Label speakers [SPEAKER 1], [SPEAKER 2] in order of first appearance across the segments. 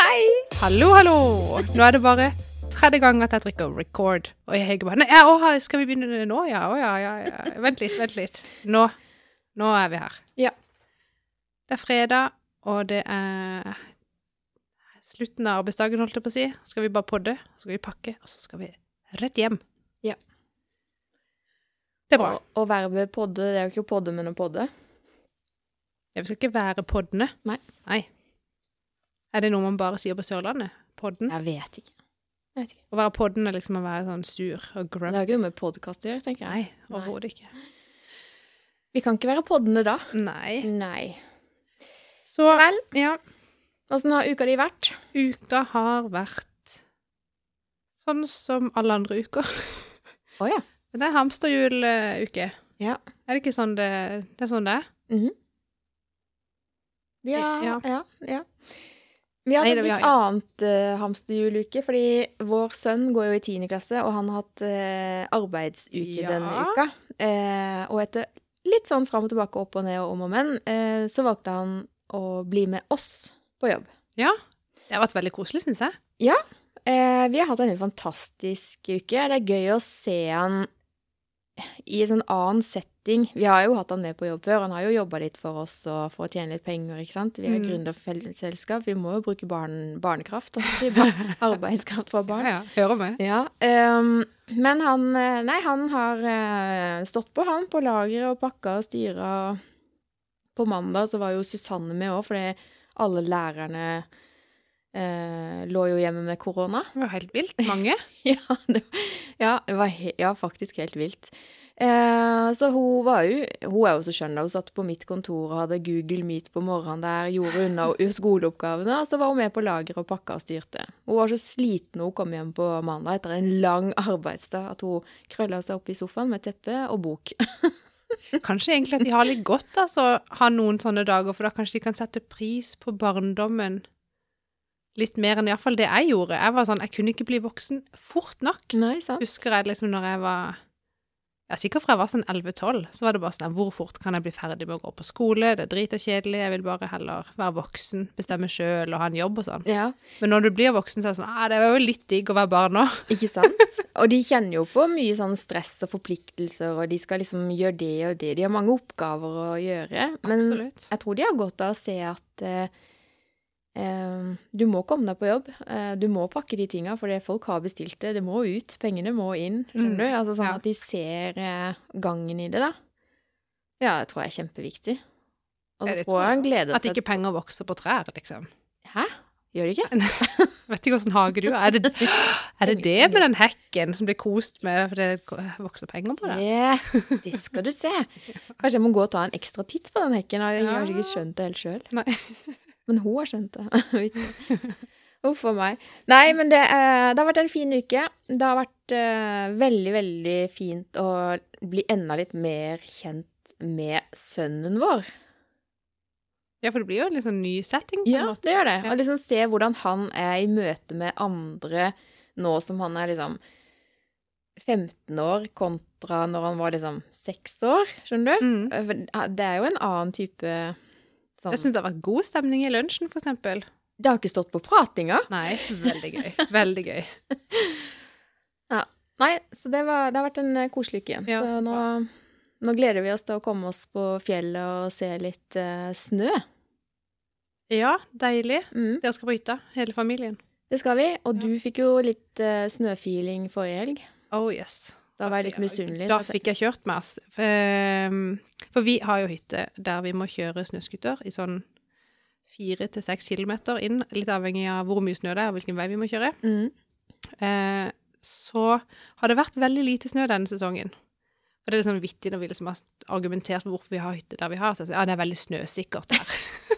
[SPEAKER 1] Hei! Hallo, hallo! Nå er det bare tredje gang at jeg trykker record. Og jeg Hege bare Nei, ja, åha, skal vi begynne nå? Ja, å ja, ja, ja. Vent litt, vent litt. Nå. Nå er vi her.
[SPEAKER 2] Ja.
[SPEAKER 1] Det er fredag, og det er slutten av arbeidsdagen, holdt jeg på å si. Så Skal vi bare podde, så skal vi pakke, og så skal vi rett hjem.
[SPEAKER 2] Ja.
[SPEAKER 1] Det er bra.
[SPEAKER 2] Og, og verbet podde, det er jo ikke å podde, men å podde.
[SPEAKER 1] Ja, vi skal ikke være poddene.
[SPEAKER 2] Nei.
[SPEAKER 1] Nei. Er det noe man bare sier på Sørlandet? Podden?
[SPEAKER 2] Jeg vet ikke. Jeg vet ikke.
[SPEAKER 1] Å være podden er liksom å være sånn sur og
[SPEAKER 2] Det
[SPEAKER 1] grump.
[SPEAKER 2] har ikke noe med podkast å gjøre, tenker jeg.
[SPEAKER 1] Nei, overhodet ikke.
[SPEAKER 2] Vi kan ikke være poddene da.
[SPEAKER 1] Nei.
[SPEAKER 2] Nei.
[SPEAKER 1] Så
[SPEAKER 2] Vel.
[SPEAKER 1] ja,
[SPEAKER 2] Åssen har uka di vært?
[SPEAKER 1] uka har vært sånn som alle andre uker.
[SPEAKER 2] Å ja.
[SPEAKER 1] Men det er hamsterhjuluke.
[SPEAKER 2] Ja.
[SPEAKER 1] Er det ikke sånn det, det er sånn det er?
[SPEAKER 2] Ja, ja.
[SPEAKER 1] Ja.
[SPEAKER 2] ja, Vi
[SPEAKER 1] Nei,
[SPEAKER 2] hadde
[SPEAKER 1] det-
[SPEAKER 2] et
[SPEAKER 1] vi
[SPEAKER 2] litt annet eh, hamsterhjuluke, fordi vår sønn går jo i 10. klasse, og han har hatt eh, arbeidsuke
[SPEAKER 1] Ja.
[SPEAKER 2] denne uka. Eh, og etter litt sånn fram og tilbake, opp og ned og om og men, eh, så valgte han å bli med oss på jobb.
[SPEAKER 1] Det har vært veldig koselig, syns jeg.
[SPEAKER 2] Eh, vi har hatt en helt fantastisk uke. Det er gøy å se han i en sånn annen setting. Vi har jo hatt han med på jobb før. Han har jo jobba litt for oss og for å tjene litt penger, ikke sant. Vi er
[SPEAKER 1] Mm.
[SPEAKER 2] gründerselskap. Vi må jo bruke barn, barnekraft, holdt jeg på å si. Bar- arbeidskraft fra barn.
[SPEAKER 1] Ja, ja. Hører med.
[SPEAKER 2] Ja, ehm, men han eh, Nei, han har eh, stått på, han, på lageret og pakka og styra. På mandag så var jo Susanne med òg, fordi alle lærerne eh, lå jo hjemme med korona.
[SPEAKER 1] Det var helt vilt. Mange.
[SPEAKER 2] Ja, det, ja, det var he ja, faktisk helt vilt. Eh, så hun var jo Hun er jo så skjønn, da. Hun satt på mitt kontor og hadde Google Meet på morgenen der, gjorde unna o- skoleoppgavene, og så var hun med på lageret og pakka og styrte. Hun var så sliten når hun kom hjem på mandag etter en lang arbeidsdag at hun krølla seg opp i sofaen med teppe og bok.
[SPEAKER 1] Kanskje egentlig at de har litt godt av altså, å ha noen sånne dager, for da kanskje de kan sette pris på barndommen litt mer enn iallfall det jeg gjorde. Jeg var sånn, jeg kunne ikke bli voksen fort nok.
[SPEAKER 2] Nei, sant?
[SPEAKER 1] Husker jeg liksom når jeg var ja, Sikkert fra jeg var sånn 11-12, så var det bare sånn Hvor fort kan jeg bli ferdig med å gå på skole? Det er drita kjedelig. Jeg vil bare heller være voksen, bestemme sjøl og ha en jobb og sånn.
[SPEAKER 2] Ja,
[SPEAKER 1] Men når du blir voksen, så er det sånn ah, Det var jo litt digg å være barn nå.
[SPEAKER 2] ikke sant? Og de kjenner jo på mye sånn stress og forpliktelser, og de skal liksom gjøre det og det. De har mange oppgaver å gjøre. Men
[SPEAKER 1] Absolutt.
[SPEAKER 2] Jeg tror de har godt av å se at eh, eh, du må komme deg på jobb. eh, du må pakke de tinga, for det folk har bestilt det. Det må ut. Pengene må inn. Skjønner
[SPEAKER 1] Mm,
[SPEAKER 2] du? Altså sånn
[SPEAKER 1] ja.
[SPEAKER 2] at de ser eh, gangen i det, da. Ja, det tror jeg er kjempeviktig. Og
[SPEAKER 1] Ja,
[SPEAKER 2] så
[SPEAKER 1] det tror
[SPEAKER 2] tror jeg han gleder
[SPEAKER 1] At
[SPEAKER 2] seg
[SPEAKER 1] ikke penger vokser på trær, liksom.
[SPEAKER 2] Hæ? Gjør de ikke?
[SPEAKER 1] Vet ikke åssen hage du har. Er det, er det det med den hekken som blir kost med fordi det vokser penger på det?
[SPEAKER 2] Det, det skal du se. Kanskje jeg må gå og ta en ekstra titt på den hekken. Jeg har
[SPEAKER 1] Ja.
[SPEAKER 2] kanskje ikke skjønt det helt sjøl.
[SPEAKER 1] Ah. Nei.
[SPEAKER 2] Men hun har skjønt det. Vet ikke. Uff a meg. Nei, men det, eh, det har vært en fin uke. Det har vært eh, veldig, veldig fint å bli enda litt mer kjent med sønnen vår.
[SPEAKER 1] Ja, for det blir jo en litt sånn ny setting på en
[SPEAKER 2] Ja,
[SPEAKER 1] måte.
[SPEAKER 2] det gjør det.
[SPEAKER 1] Ja.
[SPEAKER 2] Og liksom se hvordan han er i møte med andre nå som han er liksom 15 år kontra når han var liksom 6 år, skjønner du?
[SPEAKER 1] Mm.
[SPEAKER 2] Eh, for Det er jo en annen type sånn
[SPEAKER 1] Jeg syns det har vært god stemning i lunsjen, for eksempel.
[SPEAKER 2] Det har ikke stått på pratinga.
[SPEAKER 1] Nei, veldig gøy. Veldig gøy.
[SPEAKER 2] Nei, så det, var, det har vært en eh, koselig uke.
[SPEAKER 1] Ja, så
[SPEAKER 2] så nå, nå gleder vi oss til å komme oss på fjellet og se litt eh, snø.
[SPEAKER 1] Ja, deilig.
[SPEAKER 2] Mm,
[SPEAKER 1] Dere skal på hytta, hele familien.
[SPEAKER 2] det skal vi.
[SPEAKER 1] Ja.
[SPEAKER 2] Og du fikk jo litt eh, snøfeeling forrige helg.
[SPEAKER 1] Oh yes.
[SPEAKER 2] Da var jeg litt misunnelig.
[SPEAKER 1] Da fikk jeg kjørt meg, ass. Ehm, For vi har jo hytte der vi må kjøre snøskuter i sånn fire til seks kilometer inn, litt avhengig av hvor mye snø det er og hvilken vei vi må kjøre.
[SPEAKER 2] Mm,
[SPEAKER 1] Eh, så har det vært veldig lite snø denne sesongen. Og det er litt sånn vittig når vi liksom har argumentert for hvorfor vi har hytte der vi har. Så jeg sa, ja, det er veldig snøsikkert her.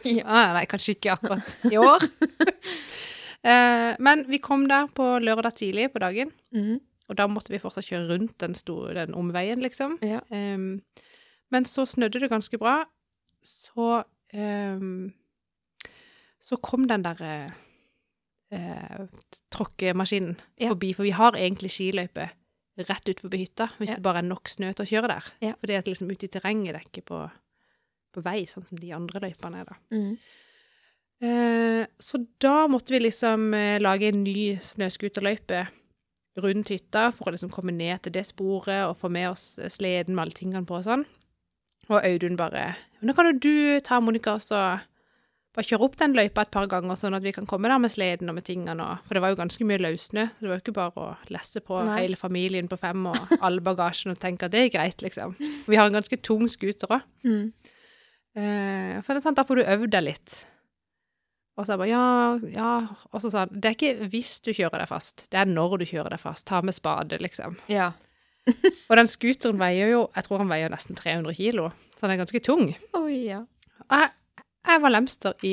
[SPEAKER 2] Ja.
[SPEAKER 1] ah, nei, kanskje ikke akkurat i år. eh, men vi kom der på lørdag tidlig på dagen,
[SPEAKER 2] mm,
[SPEAKER 1] og da måtte vi fortsatt kjøre rundt den, sto- den omveien, liksom.
[SPEAKER 2] ja.
[SPEAKER 1] Ehm, men så snødde det ganske bra. Så ehm, Så kom den derre eh, tråkkemaskinen
[SPEAKER 2] Ja.
[SPEAKER 1] forbi, for vi har egentlig skiløype rett ut forbi hytta, hvis
[SPEAKER 2] Ja.
[SPEAKER 1] det bare er nok snø til å kjøre der.
[SPEAKER 2] Ja.
[SPEAKER 1] For det er liksom ute i terrenget, det er ikke på, på vei, sånn som de andre løypene er da.
[SPEAKER 2] Mm.
[SPEAKER 1] Eh, så da måtte vi liksom eh, lage en ny snøskuterløype rundt hytta for å liksom komme ned til det sporet og få med oss eh, sleden med alle tingene på og sånn. Og Audun bare Nå kan jo du ta Monica og så bare kjøre opp den løypa et par ganger, sånn at vi kan komme der med sleden og med tingene og For det var jo ganske mye løssnø, så det var jo ikke bare å lesse på
[SPEAKER 2] Nei.
[SPEAKER 1] hele familien på fem og all bagasjen og tenke at det er greit, liksom. Vi har en ganske tung skuter òg.
[SPEAKER 2] Mm.
[SPEAKER 1] Eh, for det er sant, da får du øvd deg litt. Og så jeg bare ja, ja. Og så sa han det er ikke hvis du kjører deg fast, det er når du kjører deg fast. Ta med spade, liksom.
[SPEAKER 2] Ja.
[SPEAKER 1] Og den scooteren veier jo jeg tror han veier nesten 300 kilo, så den er ganske tung.
[SPEAKER 2] Oi, ja.
[SPEAKER 1] Og jeg, jeg var lemster i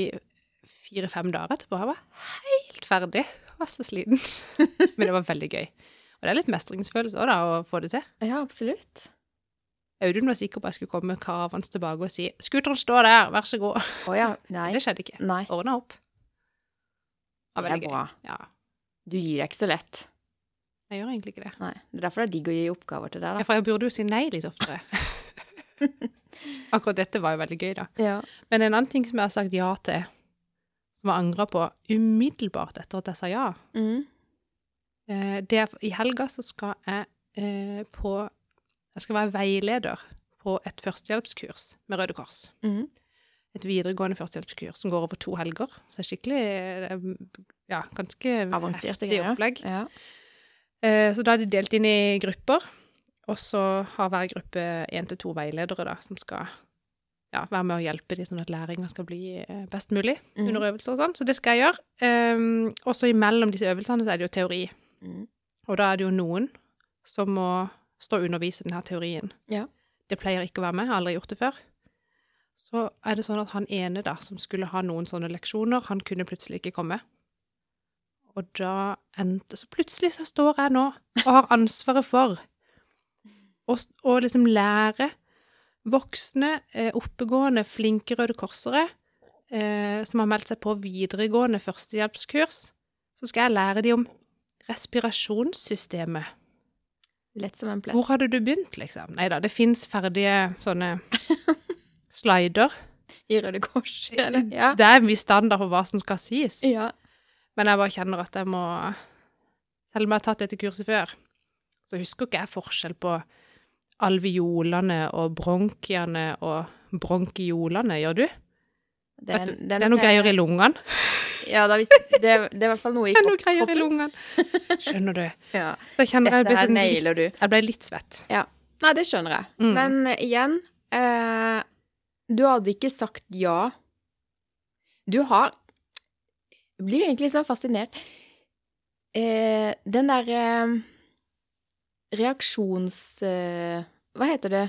[SPEAKER 1] fire-fem dager etterpå. Jeg var helt ferdig. Jeg var så sliten. Men det var veldig gøy. Og det er litt mestringsfølelse òg, da, å få det til.
[SPEAKER 2] Ja, absolutt.
[SPEAKER 1] Audun var sikker på at jeg skulle komme kravende tilbake og si 'Scooteren står der, vær så god'.
[SPEAKER 2] Å ja. Nei.
[SPEAKER 1] Det skjedde ikke.
[SPEAKER 2] Nei.
[SPEAKER 1] ordna opp. Ja,
[SPEAKER 2] Det er
[SPEAKER 1] veldig gøy.
[SPEAKER 2] bra.
[SPEAKER 1] Ja,
[SPEAKER 2] Du gir deg ikke så lett.
[SPEAKER 1] jeg gjør egentlig ikke det.
[SPEAKER 2] Nei. Det er derfor det er digg å gi oppgaver til deg,
[SPEAKER 1] Ja,
[SPEAKER 2] da.
[SPEAKER 1] for jeg burde jo si nei litt oftere. Akkurat dette var jo veldig gøy, da.
[SPEAKER 2] Ja.
[SPEAKER 1] Men en annen ting som jeg har sagt ja til, som jeg angra på umiddelbart etter at jeg sa ja,
[SPEAKER 2] Mm.
[SPEAKER 1] eh, det er i helga så skal jeg eh, på Jeg skal være veileder på et førstehjelpskurs med Røde Kors.
[SPEAKER 2] Mm.
[SPEAKER 1] Et videregående førstehjelpskurs som går over to helger. Så det er skikkelig eh, Ja, ganske
[SPEAKER 2] Avanserte
[SPEAKER 1] heftig
[SPEAKER 2] greier.
[SPEAKER 1] opplegg.
[SPEAKER 2] Ja.
[SPEAKER 1] Eh, Så da er de delt inn i grupper, og så har hver gruppe én til to veiledere da, som skal ja, være med og hjelpe de sånn at læringa skal bli eh, best mulig
[SPEAKER 2] Mm.
[SPEAKER 1] under øvelser og sånn. Så det skal jeg gjøre. Um, og så imellom disse øvelsene så er det jo teori,
[SPEAKER 2] Mm.
[SPEAKER 1] og da er det jo noen som må stå og undervise denne teorien.
[SPEAKER 2] Ja.
[SPEAKER 1] Det pleier ikke å være meg, jeg har aldri gjort det før. Så er det sånn at han ene da, som skulle ha noen sånne leksjoner, han kunne plutselig ikke komme. Og da endte Så plutselig så står jeg nå og har ansvaret for å s- å liksom lære voksne, eh, oppegående, flinke Røde Korsere eh, som har meldt seg på videregående førstehjelpskurs, så skal jeg lære dem om respirasjonssystemet.
[SPEAKER 2] Lett som en plett.
[SPEAKER 1] Hvor hadde du begynt, liksom? Nei da, det fins ferdige sånne slider.
[SPEAKER 2] I Røde Kors, eller? Ja.
[SPEAKER 1] Det er en viss standard for hva som skal sies.
[SPEAKER 2] ja.
[SPEAKER 1] Men jeg bare kjenner at jeg må Selv om jeg har tatt dette kurset før, så husker ikke jeg forskjell på alveolene og bronkiene og bronkiolene, gjør du?
[SPEAKER 2] Det er,
[SPEAKER 1] Det er noe greier i lungene.
[SPEAKER 2] Ja, det er, visst- det er, det er i hvert fall noe i
[SPEAKER 1] Det er noe
[SPEAKER 2] kropp-
[SPEAKER 1] greier i
[SPEAKER 2] kroppen.
[SPEAKER 1] lungene. Skjønner du?
[SPEAKER 2] Ja.
[SPEAKER 1] Så jeg kjenner jeg
[SPEAKER 2] Dette
[SPEAKER 1] ble,
[SPEAKER 2] her
[SPEAKER 1] sånn,
[SPEAKER 2] nailer du.
[SPEAKER 1] jeg ble litt svett.
[SPEAKER 2] Nei, det skjønner jeg.
[SPEAKER 1] Mm.
[SPEAKER 2] Men eh, igjen eh, Du hadde ikke sagt ja. Du har Jeg blir egentlig sånn fascinert. Eh, den der eh, reaksjons... Eh, hva heter det?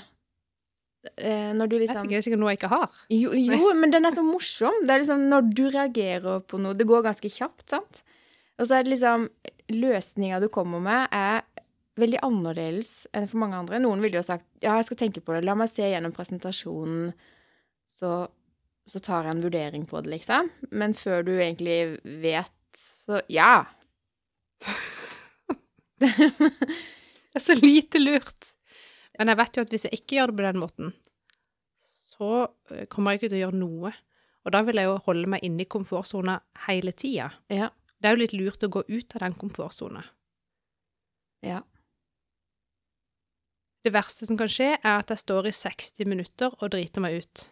[SPEAKER 2] Eh, når du
[SPEAKER 1] Jeg vet
[SPEAKER 2] liksom
[SPEAKER 1] ikke, det er sikkert noe jeg ikke har.
[SPEAKER 2] jo, jo, men den er så morsom. Det er liksom når du reagerer på noe Det går ganske kjapt, sant? Og så er det liksom Løsninga du kommer med, er veldig annerledes enn for mange andre. Noen ville jo sagt ja, jeg skal tenke på det, la meg se gjennom presentasjonen, så, så tar jeg en vurdering på det, liksom. Men før du egentlig vet, så ja.
[SPEAKER 1] Det er så lite lurt. Men jeg vet jo at hvis jeg ikke gjør det på den måten, så eh, kommer jeg ikke til å gjøre noe. Og da vil jeg jo holde meg inne i komfortsona hele tida.
[SPEAKER 2] Ja.
[SPEAKER 1] Det er jo litt lurt å gå ut av den komfortsona.
[SPEAKER 2] Ja.
[SPEAKER 1] Det verste som kan skje, er at jeg står i 60 minutter og driter meg ut.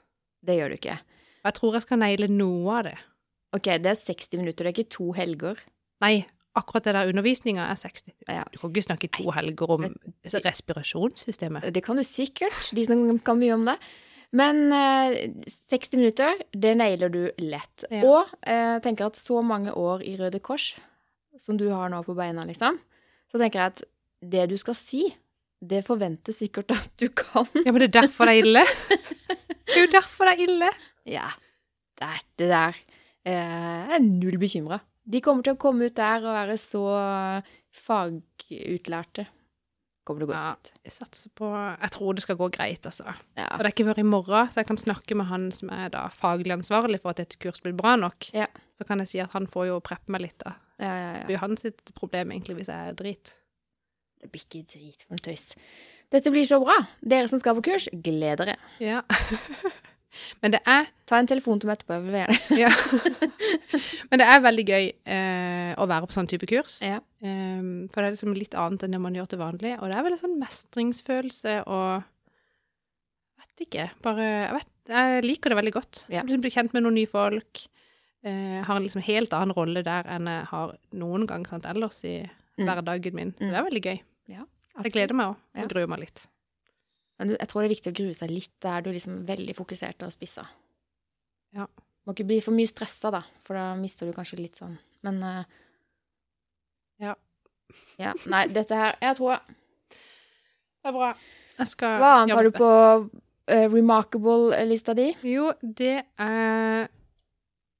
[SPEAKER 2] Det gjør du ikke.
[SPEAKER 1] Og jeg tror jeg skal naile noe av det.
[SPEAKER 2] OK, det er 60 minutter, det er ikke to helger.
[SPEAKER 1] Nei, akkurat det der undervisninga er 60.
[SPEAKER 2] Ja.
[SPEAKER 1] Du kan ikke snakke to helger om respirasjonssystemet.
[SPEAKER 2] Det kan du sikkert, de som kan mye om det. Men eh, 60 minutter, det nailer du lett.
[SPEAKER 1] Ja.
[SPEAKER 2] Og eh, tenker at så mange år i Røde Kors som du har nå på beina, liksom, så tenker jeg at det du skal si, det forventes sikkert at du kan.
[SPEAKER 1] Ja, men det er derfor det er ille. Det er jo derfor det er ille.
[SPEAKER 2] Ja, det er det der. Eh, jeg er null bekymra. De kommer til å komme ut der og være så fagutlærte. Kommer til å gå
[SPEAKER 1] Ja.
[SPEAKER 2] fint.
[SPEAKER 1] Jeg satser på Jeg tror det skal gå greit, altså. Og
[SPEAKER 2] Ja.
[SPEAKER 1] det er ikke før i morgen, så jeg kan snakke med han som er da faglig ansvarlig for at dette kurset blir bra nok.
[SPEAKER 2] Ja.
[SPEAKER 1] Så kan jeg si at han får jo preppe meg litt, da.
[SPEAKER 2] Ja, ja,
[SPEAKER 1] Det
[SPEAKER 2] ja.
[SPEAKER 1] blir jo hans sitt problem, egentlig, hvis jeg er drit.
[SPEAKER 2] Det blir ikke drit for noe tøys. Dette blir så bra. Dere som skal på kurs, gled dere.
[SPEAKER 1] Ja. Men det er
[SPEAKER 2] Ta en telefon til meg etterpå. Jeg vil gjerne.
[SPEAKER 1] ja. Men det er veldig gøy eh, å være på sånn type kurs.
[SPEAKER 2] Ja.
[SPEAKER 1] Ehm, for det er liksom litt annet enn det man gjør til vanlig. Og det er veldig sånn mestringsfølelse og Vet ikke. Bare Jeg, vet, jeg liker det veldig godt.
[SPEAKER 2] Ja.
[SPEAKER 1] Liksom Blir kjent med noen nye folk. eh, har en liksom helt annen rolle der enn jeg har noen gang sant, ellers i
[SPEAKER 2] Mm.
[SPEAKER 1] hverdagen min. Så
[SPEAKER 2] Mm.
[SPEAKER 1] Det er veldig gøy. Jeg gleder meg òg. Og gruer meg litt.
[SPEAKER 2] Men du- jeg tror det er viktig å grue seg litt. Da er du liksom veldig fokusert og spissa.
[SPEAKER 1] Ja.
[SPEAKER 2] Må ikke bli for mye stressa, da, for da mister du kanskje litt sånn Men eh,
[SPEAKER 1] Ja.
[SPEAKER 2] ja. Nei, dette her Jeg tror
[SPEAKER 1] Det er bra. Jeg skal
[SPEAKER 2] Hva annet
[SPEAKER 1] gjøre
[SPEAKER 2] har du
[SPEAKER 1] mitt
[SPEAKER 2] på eh, remarkable-lista di?
[SPEAKER 1] Jo, det er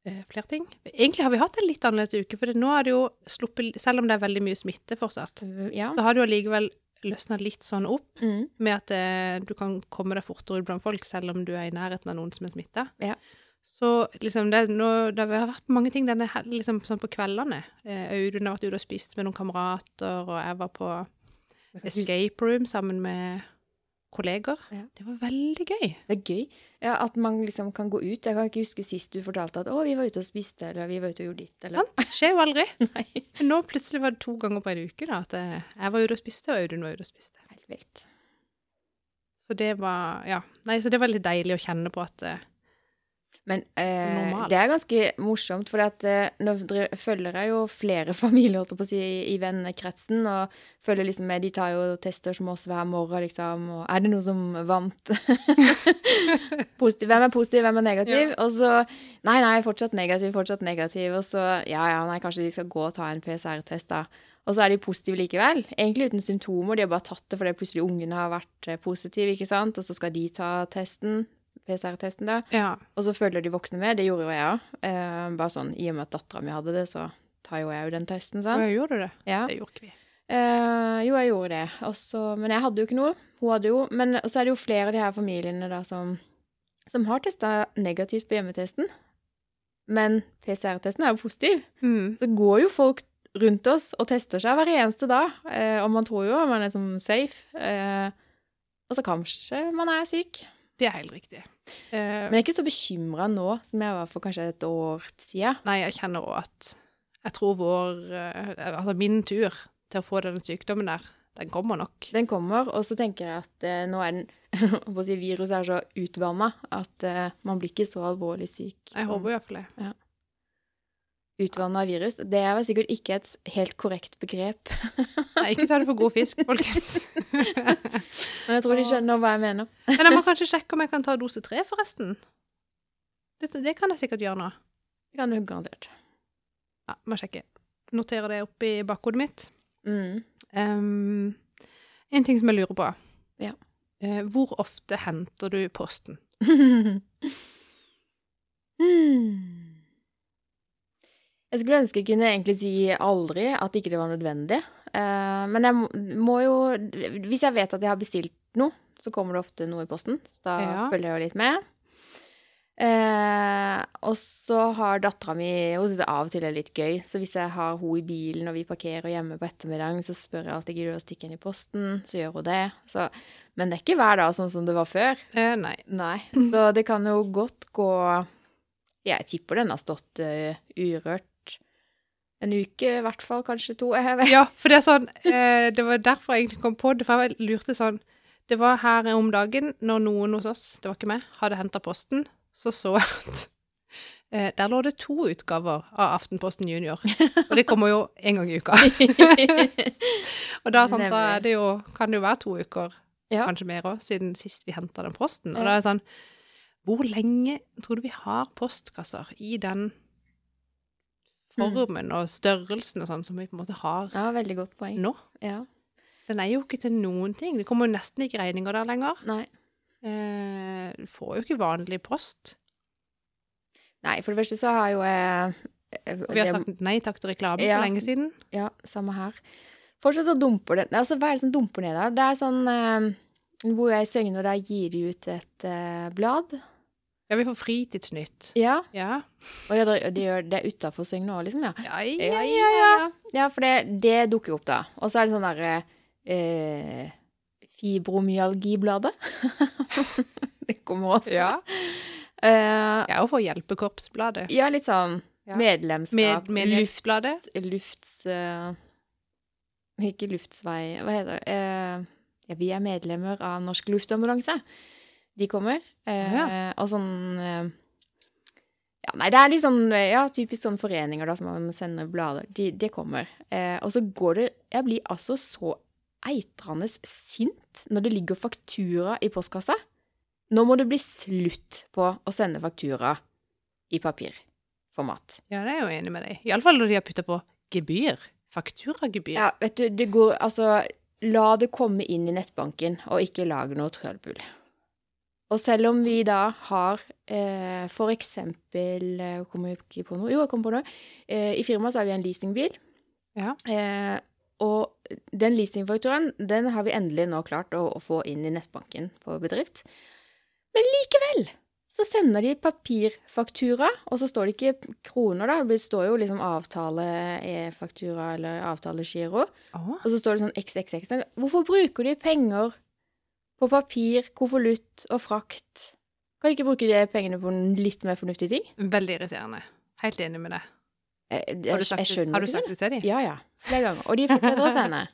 [SPEAKER 1] eh, flere ting. Egentlig har vi hatt en litt annerledes uke, for det- nå er det jo sluppet Selv om det er veldig mye smitte fortsatt,
[SPEAKER 2] Ja.
[SPEAKER 1] så har det jo allikevel løsna litt sånn opp
[SPEAKER 2] Mm.
[SPEAKER 1] med at eh, du kan komme deg fortere ut blant folk selv om du er i nærheten av noen som er smitta.
[SPEAKER 2] Ja.
[SPEAKER 1] Så liksom det, er nå, det har vært mange ting denne hel- liksom, sånn på kveldene. Eh, Audun har vært ute og spist med noen kamerater, og jeg var på escape room sammen med kolleger.
[SPEAKER 2] Ja.
[SPEAKER 1] Det var veldig gøy.
[SPEAKER 2] Det er gøy. Ja, at man liksom kan gå ut. Jeg kan ikke huske sist du fortalte at 'å, vi var ute og spiste', eller 'vi var ute og gjorde ditt', eller
[SPEAKER 1] Sant? Det skjer jo aldri.
[SPEAKER 2] Nei.
[SPEAKER 1] Men Nå plutselig var det to ganger på en uke da, at eh, jeg var ute og spiste, og Audun var ute og spiste.
[SPEAKER 2] Helt vilt.
[SPEAKER 1] Så det var, ja. Nei, så det var litt deilig å kjenne på at eh,
[SPEAKER 2] Men eh,
[SPEAKER 1] Normalt.
[SPEAKER 2] det er ganske morsomt, for eh, nå dri- følger jeg jo flere familier holdt jeg på å si, i vennekretsen. Og følger liksom med, de tar jo tester som oss hver morgen, liksom. Og er det noen som vant? positiv, hvem er positiv, hvem er negativ? Og så nei, nei, fortsatt negativ, fortsatt negativ. Og så ja, ja, nei, kanskje de skal gå og ta en PCR-test, da. Og så er de positive likevel. Egentlig uten symptomer, de har bare tatt det fordi plutselig ungene har vært eh, positive, ikke sant. Og så skal de ta testen, PCR-testen, da.
[SPEAKER 1] ja,
[SPEAKER 2] Og så følger de voksne med. Det gjorde jo jeg òg. Eh, bare sånn, I og med at dattera mi hadde det, så tar jo jeg jo den testen,
[SPEAKER 1] og
[SPEAKER 2] sant.
[SPEAKER 1] jeg gjorde det.
[SPEAKER 2] Ja.
[SPEAKER 1] Det gjorde ikke vi.
[SPEAKER 2] Eh, jo, jeg gjorde det. Og så- men jeg hadde jo ikke noe. Hun hadde jo. Men så er det jo flere av de her familiene da som, som har testa negativt på hjemmetesten. Men PCR-testen er jo positiv.
[SPEAKER 1] Mm.
[SPEAKER 2] Så går jo folk rundt oss og tester seg hver eneste dag. Eh, og man tror jo man er liksom safe. Eh, og så kanskje man er syk.
[SPEAKER 1] Det er helt riktig. Eh,
[SPEAKER 2] Men jeg er ikke så bekymra nå som jeg var for kanskje et år siden.
[SPEAKER 1] nei, jeg kjenner også at jeg tror vår, eh, altså min tur til å få denne sykdommen der, den kommer nok.
[SPEAKER 2] Den kommer, og så tenker jeg at eh, nå er den holdt på å si, Viruset er så utvanna at eh, man blir ikke så alvorlig syk.
[SPEAKER 1] Jeg håper i hvert fall det.
[SPEAKER 2] Utvanna virus. Det er vel sikkert ikke et helt korrekt begrep,
[SPEAKER 1] Nei, ikke ta det for god fisk, folkens.
[SPEAKER 2] men jeg tror de skjønner hva jeg mener.
[SPEAKER 1] Men jeg må kanskje sjekke om jeg kan ta dose 3 forresten. Det, det kan jeg sikkert gjøre nå.
[SPEAKER 2] Det kan du garantert.
[SPEAKER 1] Ja, må sjekke. Notere det oppi bakhodet mitt.
[SPEAKER 2] Mm.
[SPEAKER 1] Ehm, en ting som jeg lurer på.
[SPEAKER 2] Ja.
[SPEAKER 1] Eh, hvor ofte henter du posten?
[SPEAKER 2] Hmm. Jeg skulle ønske jeg kunne egentlig si aldri at ikke det var nødvendig. Eh, men jeg må- må jo Hvis jeg vet at jeg har bestilt noe, så kommer det ofte noe i posten. Så da
[SPEAKER 1] Ja.
[SPEAKER 2] følger jeg jo litt med. Eh, og så har dattera mi Hun syns det av og til er litt gøy. Så hvis jeg har hun i bilen og vi parkerer hjemme på ettermiddagen, så spør jeg alltid gidder du å stikke inn i posten. Så gjør hun det. Så, men det er ikke hver dag sånn som det var før.
[SPEAKER 1] Eh, nei.
[SPEAKER 2] Nei, så det kan jo godt gå Jeg tipper den har stått eh, urørt en uke, i hvert fall kanskje to. Jeg vet.
[SPEAKER 1] Ja, for det er sånn eh, Det var derfor jeg egentlig kom på det, for jeg var- lurte sånn Det var her om dagen når noen hos oss, det var ikke meg, hadde henta posten, så så jeg at eh, der lå det to utgaver av Aftenposten Junior. Og det kommer jo én gang i uka. Og da, sant, da er det jo, kan det jo være to uker,
[SPEAKER 2] Ja.
[SPEAKER 1] kanskje mer òg, siden sist vi henta den posten. Og
[SPEAKER 2] Ja.
[SPEAKER 1] da er det sånn Hvor lenge tror du vi har postkasser i den formen og størrelsen og sånn som vi på en måte har
[SPEAKER 2] Mm. ja, veldig godt poeng.
[SPEAKER 1] nå?
[SPEAKER 2] Ja.
[SPEAKER 1] Den er jo ikke til noen ting. Det kommer jo nesten ikke regninger der lenger.
[SPEAKER 2] Nei.
[SPEAKER 1] Eh, Du får jo ikke vanlig post.
[SPEAKER 2] Nei, for det første så har jo jeg
[SPEAKER 1] Og vi har sagt nei takk til reklame
[SPEAKER 2] Ja.
[SPEAKER 1] for lenge siden.
[SPEAKER 2] Ja, samme her. Fortsatt så dumper det Altså, hva er det som dumper ned der? Det er sånn eh, Nå bor jeg i Søgne, og der gir de ut et eh, blad.
[SPEAKER 1] Ja, vi får Fritidsnytt.
[SPEAKER 2] Ja.
[SPEAKER 1] Ja.
[SPEAKER 2] Og ja, de de gjør det utafor Søgne òg, liksom? Ja.
[SPEAKER 1] Ja, ja,
[SPEAKER 2] Ja,
[SPEAKER 1] ja.
[SPEAKER 2] ja, ja. ja for det, det dukker jo opp da. Og så er det sånn der eh, eh, fibromyalgibladet. det kommer også.
[SPEAKER 1] Ja.
[SPEAKER 2] Eh,
[SPEAKER 1] Det er jo for Hjelpekorpsbladet.
[SPEAKER 2] ja, litt sånn
[SPEAKER 1] Ja.
[SPEAKER 2] medlemskap,
[SPEAKER 1] Med, med
[SPEAKER 2] luft,
[SPEAKER 1] Hjelpebladet.
[SPEAKER 2] lufts... eh, ikke luftsvei, hva heter det? Eh, ja, vi er medlemmer av Norsk Luftambulanse. De kommer. eh, Og sånn eh, ja, Nei, det er litt sånn eh, ja, typisk sånn foreninger da, som man sender blader. De, de kommer. Eh, og så går det Jeg blir altså så eitrende sint når det ligger faktura i postkassa. Nå må det bli slutt på å sende faktura i papirformat.
[SPEAKER 1] Ja, det er jeg jo enig med deg. Iallfall når de har putta på gebyr. Fakturagebyr.
[SPEAKER 2] Ja, vet du, det går Altså, la det komme inn i nettbanken, og ikke lag noe trøbbel. Og selv om vi da har eh, for eksempel eh, Kommer jeg ikke på noe? Jo, jeg kom på noe. Eh, I firmaet så har vi en leasingbil.
[SPEAKER 1] Ja.
[SPEAKER 2] Eh, og den leasingfaktoren, den har vi endelig nå klart å, å få inn i nettbanken på bedrift. Men likevel så sender de papirfaktura, og så står det ikke kroner, da. Det står jo liksom avtale-faktura eller avtale-giro.
[SPEAKER 1] Å,
[SPEAKER 2] Og så står det sånn XXX. Hvorfor bruker de penger på papir, konvolutt og frakt? Kan de ikke bruke de pengene på en litt mer fornuftig ting?
[SPEAKER 1] Veldig irriterende. Helt enig med deg.
[SPEAKER 2] Jeg, jeg,
[SPEAKER 1] Har du
[SPEAKER 2] jeg
[SPEAKER 1] sagt, det-
[SPEAKER 2] skjønner
[SPEAKER 1] har du
[SPEAKER 2] ikke
[SPEAKER 1] sagt
[SPEAKER 2] det.
[SPEAKER 1] det til dem?
[SPEAKER 2] Ja, ja. Flere ganger. Og de fortsetter å sende.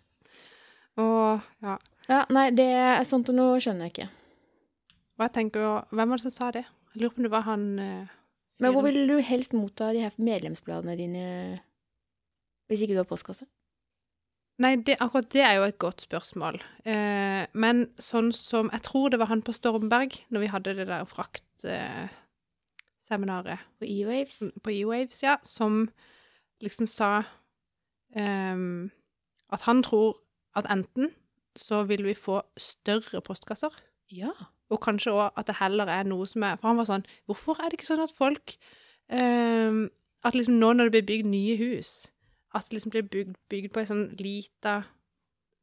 [SPEAKER 1] Og, ja.
[SPEAKER 2] Ja, nei, det er sånt og noe skjønner jeg ikke.
[SPEAKER 1] Og jeg tenker jo Hvem var det som sa det? Jeg lurer på om det var han eh,
[SPEAKER 2] Men hvor vil du helst motta de her medlemsbladene dine hvis ikke du har postkasse?
[SPEAKER 1] Nei, det, akkurat det er jo et godt spørsmål. Eh, men sånn som Jeg tror det var han på Stormberg, når vi hadde det der eh, fraktseminaret
[SPEAKER 2] På E-Waves?
[SPEAKER 1] på E-Waves, ja, som liksom sa ehm, at han tror at enten så vil vi få større postkasser,
[SPEAKER 2] Ja.
[SPEAKER 1] og kanskje òg at det heller er noe som er For han var sånn Hvorfor er det ikke sånn at folk ehm, At liksom nå når det blir bygd nye hus, at det liksom blir bygd, bygd på ei sånn lita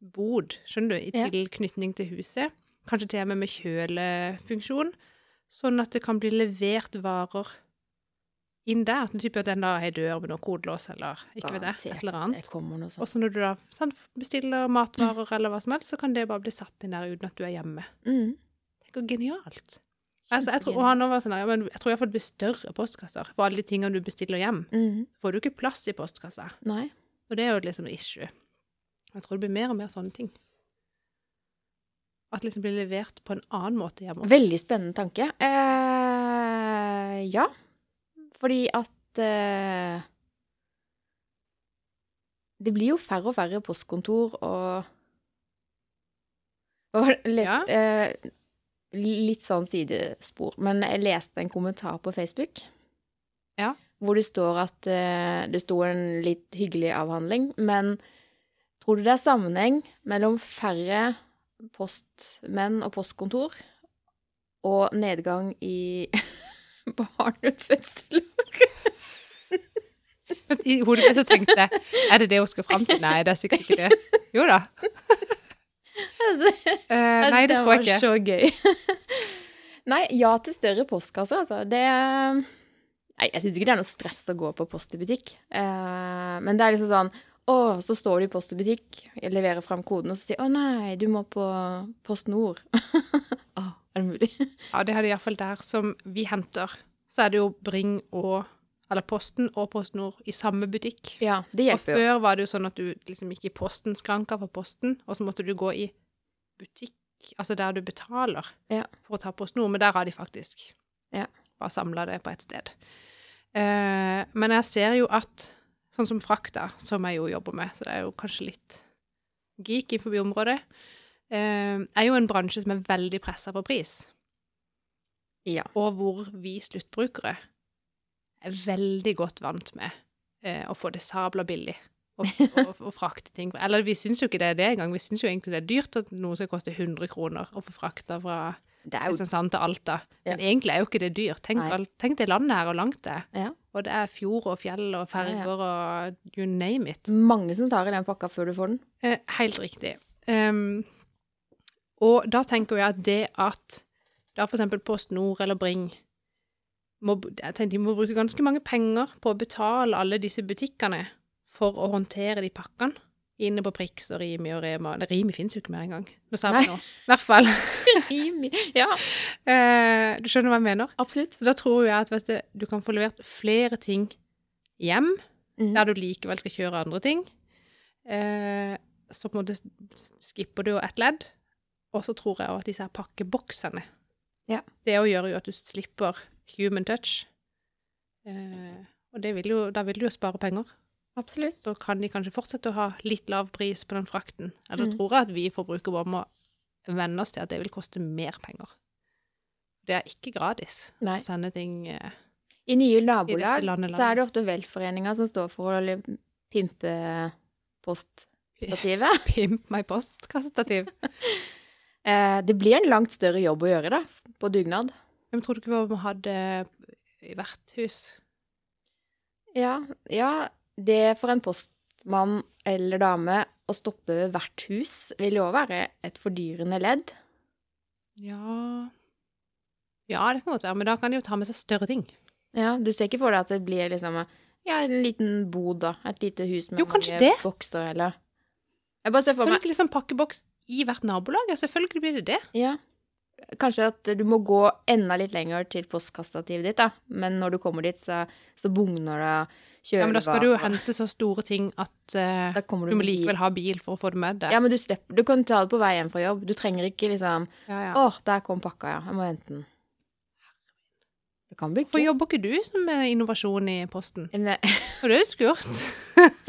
[SPEAKER 1] bod, skjønner du, i
[SPEAKER 2] Ja.
[SPEAKER 1] tilknytning til huset. Kanskje til og med med kjølefunksjon, sånn at det kan bli levert varer inn der. Sånn type at den da har ei dør med noe kodelås eller ikke vet jeg, et eller
[SPEAKER 2] Jeg
[SPEAKER 1] annet.
[SPEAKER 2] kommer noe sånt.
[SPEAKER 1] Og så når du da sånn, bestiller matvarer eller hva som helst, så kan det bare bli satt inn der uten at du er hjemme.
[SPEAKER 2] Mm.
[SPEAKER 1] Tenk hvor genialt. Altså, jeg tror, og han også var sånn, ja, men jeg tror iallfall det blir større postkasser for alle de tingene du bestiller hjem.
[SPEAKER 2] Mm.
[SPEAKER 1] Får du ikke plass i postkassa.
[SPEAKER 2] Nei.
[SPEAKER 1] Og det er jo liksom et issue. Jeg tror det blir mer og mer sånne ting. At det liksom blir levert på en annen måte hjemme.
[SPEAKER 2] Veldig spennende tanke. Eh, ja. Fordi at eh, Det blir jo færre og færre postkontor og Hva var det? Les,
[SPEAKER 1] Ja.
[SPEAKER 2] eh, litt sånn sidespor, men jeg leste en kommentar på Facebook.
[SPEAKER 1] Ja.
[SPEAKER 2] Hvor det står at eh, det sto en litt hyggelig avhandling, men tror du det er sammenheng mellom færre postmenn og postkontor og nedgang i barnefødsel?
[SPEAKER 1] I hodet mitt så tenkte jeg er det det hun skal fram til? Nei, det er sikkert ikke det. Jo da.
[SPEAKER 2] Altså,
[SPEAKER 1] Eh, nei, det tror jeg
[SPEAKER 2] var
[SPEAKER 1] ikke.
[SPEAKER 2] så gøy. Nei, ja til større postkasser, altså. Det Nei, jeg syns ikke det er noe stress å gå på post i butikk. Eh, men det er liksom sånn Å, så står du i post i butikk, jeg leverer fram koden, og så sier Å nei, du må på Post Nord. Å, er det mulig?
[SPEAKER 1] Ja, det hadde iallfall der som vi henter. Så er det jo Bring og Eller Posten og PostNord i samme butikk.
[SPEAKER 2] Ja, det
[SPEAKER 1] Og
[SPEAKER 2] hjelper jo.
[SPEAKER 1] før var det jo sånn at du liksom gikk i postens skranker for posten, og så måtte du gå i butikk, altså der du betaler,
[SPEAKER 2] Ja.
[SPEAKER 1] for å ta PostNord, men der har de faktisk
[SPEAKER 2] Ja.
[SPEAKER 1] bare samla det på ett sted. Eh, men jeg ser jo at sånn som frakta, som jeg jo jobber med, så det er jo kanskje litt geek innenfor området, eh, er jo en bransje som er veldig pressa på pris,
[SPEAKER 2] Ja.
[SPEAKER 1] og hvor vi sluttbrukere er veldig godt vant med eh, å få det sabla billig. Og, og, og frakte ting. Eller vi syns jo ikke det er det engang. Vi syns jo egentlig det er dyrt at noe skal koste 100 kroner å få frakta fra
[SPEAKER 2] Det er jo
[SPEAKER 1] Kristiansand til Alta. Men egentlig er jo ikke det dyrt. Tenk,
[SPEAKER 2] Nei.
[SPEAKER 1] alt- tenk det landet her og langt det er.
[SPEAKER 2] Ja.
[SPEAKER 1] Og det er fjord og fjell og ferger og you name it.
[SPEAKER 2] mange som tar i den pakka før du får den.
[SPEAKER 1] Eh, helt riktig. Ehm, og da tenker jeg at det at da for eksempel Post Nord eller Bring må, b- jeg tenker, de må bruke ganske mange penger på å betale alle disse butikkene for å håndtere de pakkene Inne på Prix og Rimi og Rema. Det Rimi fins jo ikke mer engang. Nå sa
[SPEAKER 2] Nei.
[SPEAKER 1] vi noe. I hvert fall.
[SPEAKER 2] Rimi. Ja,
[SPEAKER 1] Eh, du skjønner hva jeg mener?
[SPEAKER 2] absolutt.
[SPEAKER 1] Så da tror jeg at vet du, du kan få levert flere ting hjem,
[SPEAKER 2] Mm.
[SPEAKER 1] der du likevel skal kjøre andre ting. Eh, så på en måte s- skipper du jo ett ledd. Og så tror jeg også at disse her pakkeboksene
[SPEAKER 2] Ja.
[SPEAKER 1] Det å gjøre jo at du slipper human touch. Eh, og det vil jo, da vil du jo spare penger.
[SPEAKER 2] Absolutt.
[SPEAKER 1] Så kan de kanskje fortsette å ha litt lav pris på den frakten. Eller
[SPEAKER 2] Mm.
[SPEAKER 1] tror jeg at vi forbrukere bare må venne oss til at det vil koste mer penger. Det er ikke gratis
[SPEAKER 2] Nei.
[SPEAKER 1] å sende ting eh,
[SPEAKER 2] I nye
[SPEAKER 1] I
[SPEAKER 2] nabolag
[SPEAKER 1] dette landet,
[SPEAKER 2] så er det ofte velforeninger som står for å li- pimpe poststativet.
[SPEAKER 1] Pimp my postkassestativ.
[SPEAKER 2] Eh, det blir en langt større jobb å gjøre, da, på dugnad.
[SPEAKER 1] Hvem tror du ikke vi hadde i verthus?
[SPEAKER 2] Ja, ja det er for en postmann eller -dame å stoppe ved hvert hus vil jo òg være et fordyrende ledd.
[SPEAKER 1] Ja Ja, det kan godt være, men da kan de jo ta med seg større ting.
[SPEAKER 2] Ja, Du ser ikke for deg at det blir liksom ja, en liten bod, da. Et lite hus med
[SPEAKER 1] Jo, kanskje
[SPEAKER 2] mange
[SPEAKER 1] det.
[SPEAKER 2] bokser, eller Jeg bare ser for
[SPEAKER 1] Kan du
[SPEAKER 2] meg
[SPEAKER 1] ikke liksom pakkeboks i hvert nabolag? Ja, selvfølgelig blir det det.
[SPEAKER 2] Ja. Kanskje at du må gå enda litt lenger til postkassativet ditt, da. Men når du kommer dit, så, så bugner det av kjølevarer.
[SPEAKER 1] Ja, men da skal du jo hente så store ting at eh,
[SPEAKER 2] Da kommer
[SPEAKER 1] du må
[SPEAKER 2] med bil.
[SPEAKER 1] likevel ha bil for å få det med deg.
[SPEAKER 2] Ja, men du slipper Du kan ta det på vei hjem fra jobb. Du trenger ikke liksom
[SPEAKER 1] Ja, ja.
[SPEAKER 2] Å, der kom pakka, ja. Jeg må hente den. Det kan bli
[SPEAKER 1] Hvorfor
[SPEAKER 2] gøy.
[SPEAKER 1] jobber ikke du som med innovasjon i Posten?
[SPEAKER 2] Men-
[SPEAKER 1] Og det er jo skurt.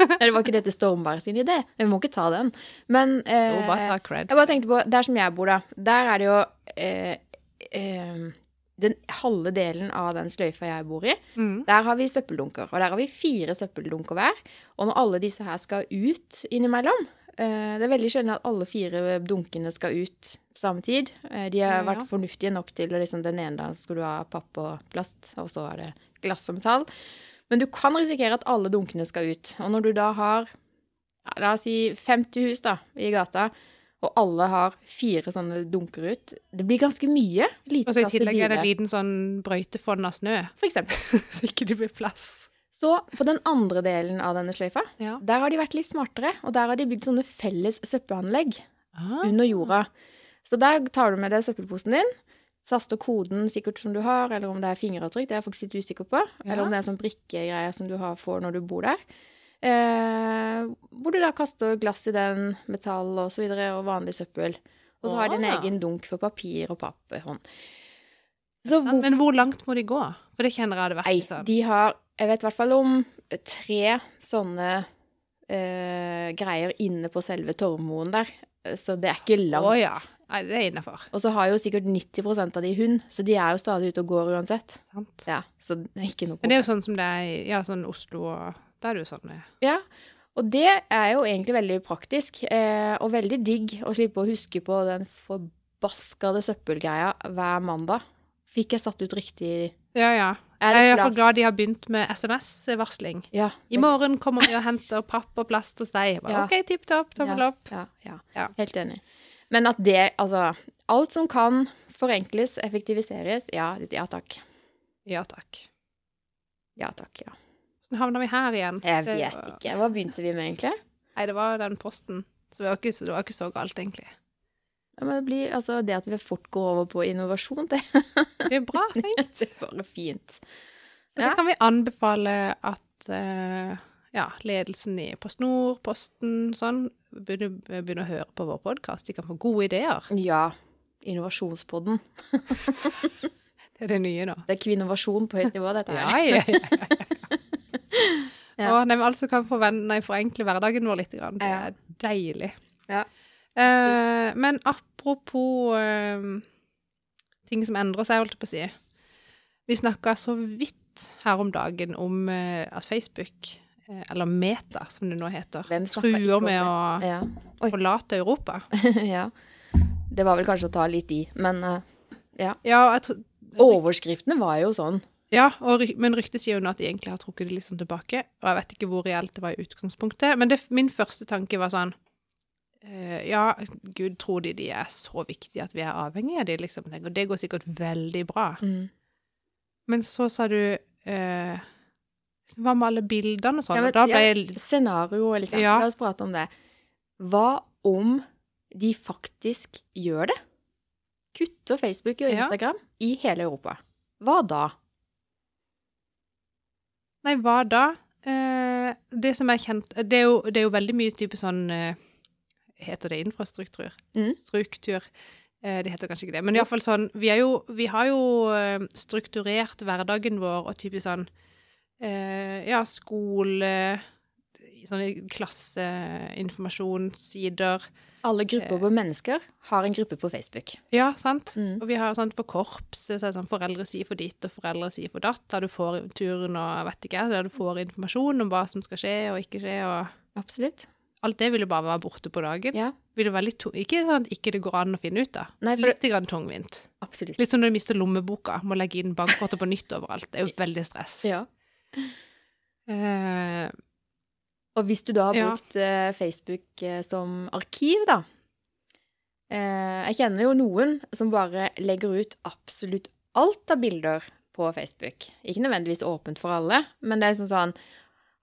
[SPEAKER 2] Nei, det var ikke dette Stormberg sin idé. Vi må ikke ta den. Men eh,
[SPEAKER 1] Jo, bare ta cred.
[SPEAKER 2] Jeg bare tenkte på, Der som jeg bor, da, der er det jo eh, eh, Den halve delen av den sløyfa jeg bor i,
[SPEAKER 1] Mm.
[SPEAKER 2] Der har vi søppeldunker, og der har vi fire søppeldunker hver. Og når alle disse her skal ut innimellom eh, Det er veldig sjelden at alle fire dunkene skal ut på samme tid. Eh, de
[SPEAKER 1] Ja,
[SPEAKER 2] har
[SPEAKER 1] ja.
[SPEAKER 2] vært fornuftige nok til å liksom, Den ene dagen så skulle du ha papp og plast, og så er det glass og metall. Men du kan risikere at alle dunkene skal ut. Og når du da har ja, la oss si 50 hus da, i gata, og alle har fire sånne dunker ut Det blir ganske mye. Lite
[SPEAKER 1] Og så i
[SPEAKER 2] plass til
[SPEAKER 1] tillegg er det en
[SPEAKER 2] biler,
[SPEAKER 1] liten sånn brøytefonn av snø,
[SPEAKER 2] for eksempel.
[SPEAKER 1] så ikke det blir plass.
[SPEAKER 2] Så på den andre delen av denne sløyfa,
[SPEAKER 1] Ja.
[SPEAKER 2] der har de vært litt smartere, og der har de bygd sånne felles søppelanlegg
[SPEAKER 1] Ah.
[SPEAKER 2] under jorda. Så der tar du med deg søppelposen din, taster koden sikkert som du har, eller om det er fingeravtrykk, det er jeg faktisk litt usikker på, eller om det er en sånn brikkegreie som du har får når du bor der. Eh, hvor du da kaster glass i den, metall og så videre, og vanlig søppel. Og så har de en
[SPEAKER 1] Ah.
[SPEAKER 2] egen dunk for papir og papphånd. Så
[SPEAKER 1] Sant? Men hvor langt må de gå? For det kjenner jeg hadde vært
[SPEAKER 2] Nei,
[SPEAKER 1] litt sånn.
[SPEAKER 2] de har Jeg vet i hvert fall om tre sånne eh, greier inne på selve Torvmoen der. Så det er ikke langt.
[SPEAKER 1] Å ja. Nei, det er innafor.
[SPEAKER 2] Og så har jo sikkert 90 av de hund, så de er jo stadig ute og går uansett.
[SPEAKER 1] Sant.
[SPEAKER 2] Ja, så det er ikke noe
[SPEAKER 1] Men det er jo sånn som det er i ja, sånn Oslo og Da er det jo sånn eh,
[SPEAKER 2] Ja, og det er jo egentlig veldig praktisk, eh, og veldig digg å slippe å huske på den forbaskede søppelgreia hver mandag. Fikk jeg satt ut riktig?
[SPEAKER 1] Ja, ja.
[SPEAKER 2] Er
[SPEAKER 1] Jeg er i hvert
[SPEAKER 2] plass?
[SPEAKER 1] fall glad de har begynt med SMS-varsling.
[SPEAKER 2] Ja,
[SPEAKER 1] I morgen kommer vi og henter papp og plast hos deg. Jeg Bare,
[SPEAKER 2] Ja.
[SPEAKER 1] OK, tipp topp, tommel
[SPEAKER 2] ja,
[SPEAKER 1] opp.
[SPEAKER 2] Ja, ja.
[SPEAKER 1] Ja.
[SPEAKER 2] Helt enig. Men at det, altså Alt som kan forenkles, effektiviseres, ja, ja takk.
[SPEAKER 1] Ja takk.
[SPEAKER 2] Ja takk, ja.
[SPEAKER 1] Hvordan havna vi her igjen?
[SPEAKER 2] Jeg
[SPEAKER 1] Det
[SPEAKER 2] vet
[SPEAKER 1] var-
[SPEAKER 2] ikke. Hva begynte vi med, egentlig?
[SPEAKER 1] Nei, det var den posten. Så det var ikke, så- det var ikke så galt, egentlig.
[SPEAKER 2] Ja, men det, blir, altså, det at vi fort går over på innovasjon, det,
[SPEAKER 1] Det er bra tenkt.
[SPEAKER 2] det er bare fint.
[SPEAKER 1] Så
[SPEAKER 2] Ja.
[SPEAKER 1] det kan vi anbefale at eh, ja, ledelsen i PostNord, Posten, sånn, begynner, begynner å høre på vår podkast. De kan få gode ideer.
[SPEAKER 2] Ja. Innovasjonspodden.
[SPEAKER 1] Det er det nye nå.
[SPEAKER 2] Det er kvinnovasjon på høyt nivå, dette her.
[SPEAKER 1] Ja, ja, ja.
[SPEAKER 2] Ja.
[SPEAKER 1] Og nei, men altså kan forven- nei, forenkle hverdagen vår litt. Grann. Det
[SPEAKER 2] Ja.
[SPEAKER 1] er deilig.
[SPEAKER 2] Ja.
[SPEAKER 1] Eh, men apropos eh, ting som endrer seg, holdt jeg på å si. Vi snakka så vidt her om dagen om eh, at Facebook, eh, eller Meta som det nå heter,
[SPEAKER 2] Hvem snakket ikke
[SPEAKER 1] truer
[SPEAKER 2] om
[SPEAKER 1] med å
[SPEAKER 2] Ja.
[SPEAKER 1] forlate Europa.
[SPEAKER 2] ja. Det var vel kanskje å ta litt i, men eh,
[SPEAKER 1] Ja, og jeg tro-
[SPEAKER 2] overskriftene var jo sånn.
[SPEAKER 1] Ja, og, ry- men ryktet sier jo nå at de egentlig har trukket det litt sånn tilbake, og jeg vet ikke hvor reelt det var i utgangspunktet. Men det, min første tanke var sånn eh, Ja, gud, tror de de er så viktige at vi er avhengige av de, liksom? Tenk, Og det går sikkert veldig bra.
[SPEAKER 2] Mm.
[SPEAKER 1] Men så sa du eh, Hva med alle bildene og sånn?
[SPEAKER 2] Ja, men-
[SPEAKER 1] og da ble
[SPEAKER 2] ja.
[SPEAKER 1] jeg litt
[SPEAKER 2] Scenario, liksom.
[SPEAKER 1] Ja.
[SPEAKER 2] La oss prate om det. Hva om de faktisk gjør det? Kutter Facebook og
[SPEAKER 1] Ja.
[SPEAKER 2] Instagram i hele Europa. Hva da?
[SPEAKER 1] Nei, hva da? Eh, det som er kjent Det er jo, det er jo veldig mye type sånn eh, Heter det infrastruktur?
[SPEAKER 2] Mm.
[SPEAKER 1] Struktur. Eh, det heter kanskje ikke det. Men iallfall sånn vi, er jo, vi har jo eh, strukturert hverdagen vår og typisk sånn eh, Ja, skole sånn Sånne klasseinformasjonssider.
[SPEAKER 2] Alle
[SPEAKER 1] Eh.
[SPEAKER 2] grupper på mennesker har en gruppe på Facebook.
[SPEAKER 1] Ja, sant?
[SPEAKER 2] Mm.
[SPEAKER 1] Og vi har sånn for korpset, så er det sånn foreldre sier for ditt og foreldre sier for datt, der du får turen og jeg vet ikke, der du får informasjon om hva som skal skje og ikke skje, og
[SPEAKER 2] Absolutt.
[SPEAKER 1] alt det vil jo bare være borte på dagen.
[SPEAKER 2] Ja,
[SPEAKER 1] Vil det være litt tung- ikke sånn at ikke det går an å finne ut da.
[SPEAKER 2] Nei, for det-
[SPEAKER 1] litt grann tungvint.
[SPEAKER 2] absolutt.
[SPEAKER 1] Litt som når du mister lommeboka, må legge inn bankkortet på nytt overalt. Det er jo veldig stress.
[SPEAKER 2] Ja.
[SPEAKER 1] Eh,
[SPEAKER 2] Og hvis du da har
[SPEAKER 1] Ja.
[SPEAKER 2] brukt eh, Facebook eh, som arkiv, da eh, Jeg kjenner jo noen som bare legger ut absolutt alt av bilder på Facebook. Ikke nødvendigvis åpent for alle, men det er liksom sånn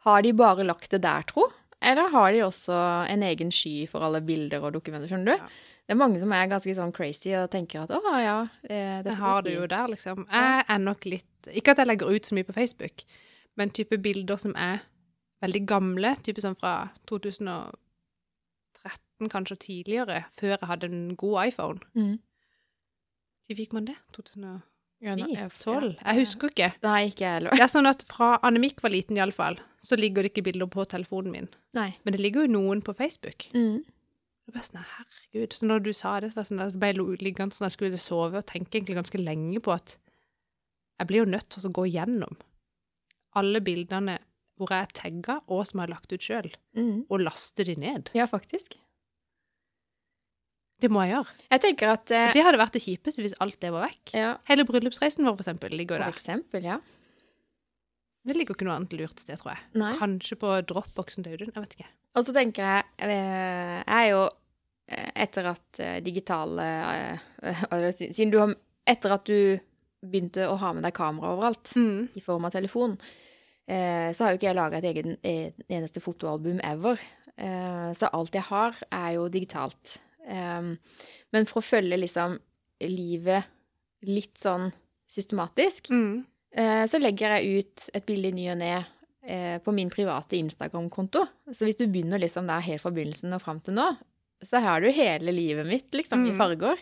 [SPEAKER 2] Har de bare lagt det der, tro? Eller har de også en egen sky for alle bilder og dokumenter, skjønner du?
[SPEAKER 1] Ja.
[SPEAKER 2] Det er mange som er ganske sånn crazy og tenker at å ja, eh, dette
[SPEAKER 1] Jeg har det jo der, liksom. Jeg er nok litt Ikke at jeg legger ut så mye på Facebook, men type bilder som er veldig gamle, type sånn fra 2013 kanskje og tidligere, før jeg hadde en god iPhone.
[SPEAKER 2] Mm.
[SPEAKER 1] Når fikk man det? 2010?
[SPEAKER 2] Ja, nå- jeg-
[SPEAKER 1] 2012? Jeg husker ikke.
[SPEAKER 2] Nei, ikke jeg heller.
[SPEAKER 1] Det er sånn at fra Annemik var liten, iallfall, så ligger det ikke bilder på telefonen min.
[SPEAKER 2] Nei.
[SPEAKER 1] Men det ligger jo noen på Facebook.
[SPEAKER 2] Mm.
[SPEAKER 1] Det var sånn, herregud. Så når du sa det, så var det sånn, at jeg ble lo- liggende sånn at jeg skulle sove og tenke egentlig ganske lenge på at jeg blir jo nødt til å gå gjennom alle bildene hvor jeg er tagga, og som jeg har lagt ut sjøl,
[SPEAKER 2] Mm.
[SPEAKER 1] og laste de ned.
[SPEAKER 2] Ja, faktisk.
[SPEAKER 1] Det må jeg gjøre.
[SPEAKER 2] Jeg tenker at eh,
[SPEAKER 1] Det hadde vært det kjipeste hvis alt det var vekk.
[SPEAKER 2] ja,
[SPEAKER 1] Hele bryllupsreisen vår, for eksempel, ligger jo
[SPEAKER 2] For
[SPEAKER 1] der.
[SPEAKER 2] eksempel, ja.
[SPEAKER 1] Det ligger ikke noe annet lurt sted, tror jeg.
[SPEAKER 2] Nei.
[SPEAKER 1] Kanskje på dropboxen til Audun. Jeg vet ikke.
[SPEAKER 2] Og så tenker jeg eh, Jeg er jo eh, etter at eh, digitale eh, eller si- Siden du har Etter at du begynte å ha med deg kamera overalt
[SPEAKER 1] Mm.
[SPEAKER 2] i form av telefon, eh, så har jo ikke jeg laga et egen, et eneste fotoalbum ever. Eh, Så alt jeg har, er jo digitalt. Eh, Men for å følge liksom livet litt sånn systematisk,
[SPEAKER 1] Mm.
[SPEAKER 2] Eh, så legger jeg ut et bilde i ny og ne eh, på min private Instagram-konto. Så hvis du begynner liksom der helt fra begynnelsen og fram til nå, så har du hele livet mitt liksom i
[SPEAKER 1] Mm.
[SPEAKER 2] farger.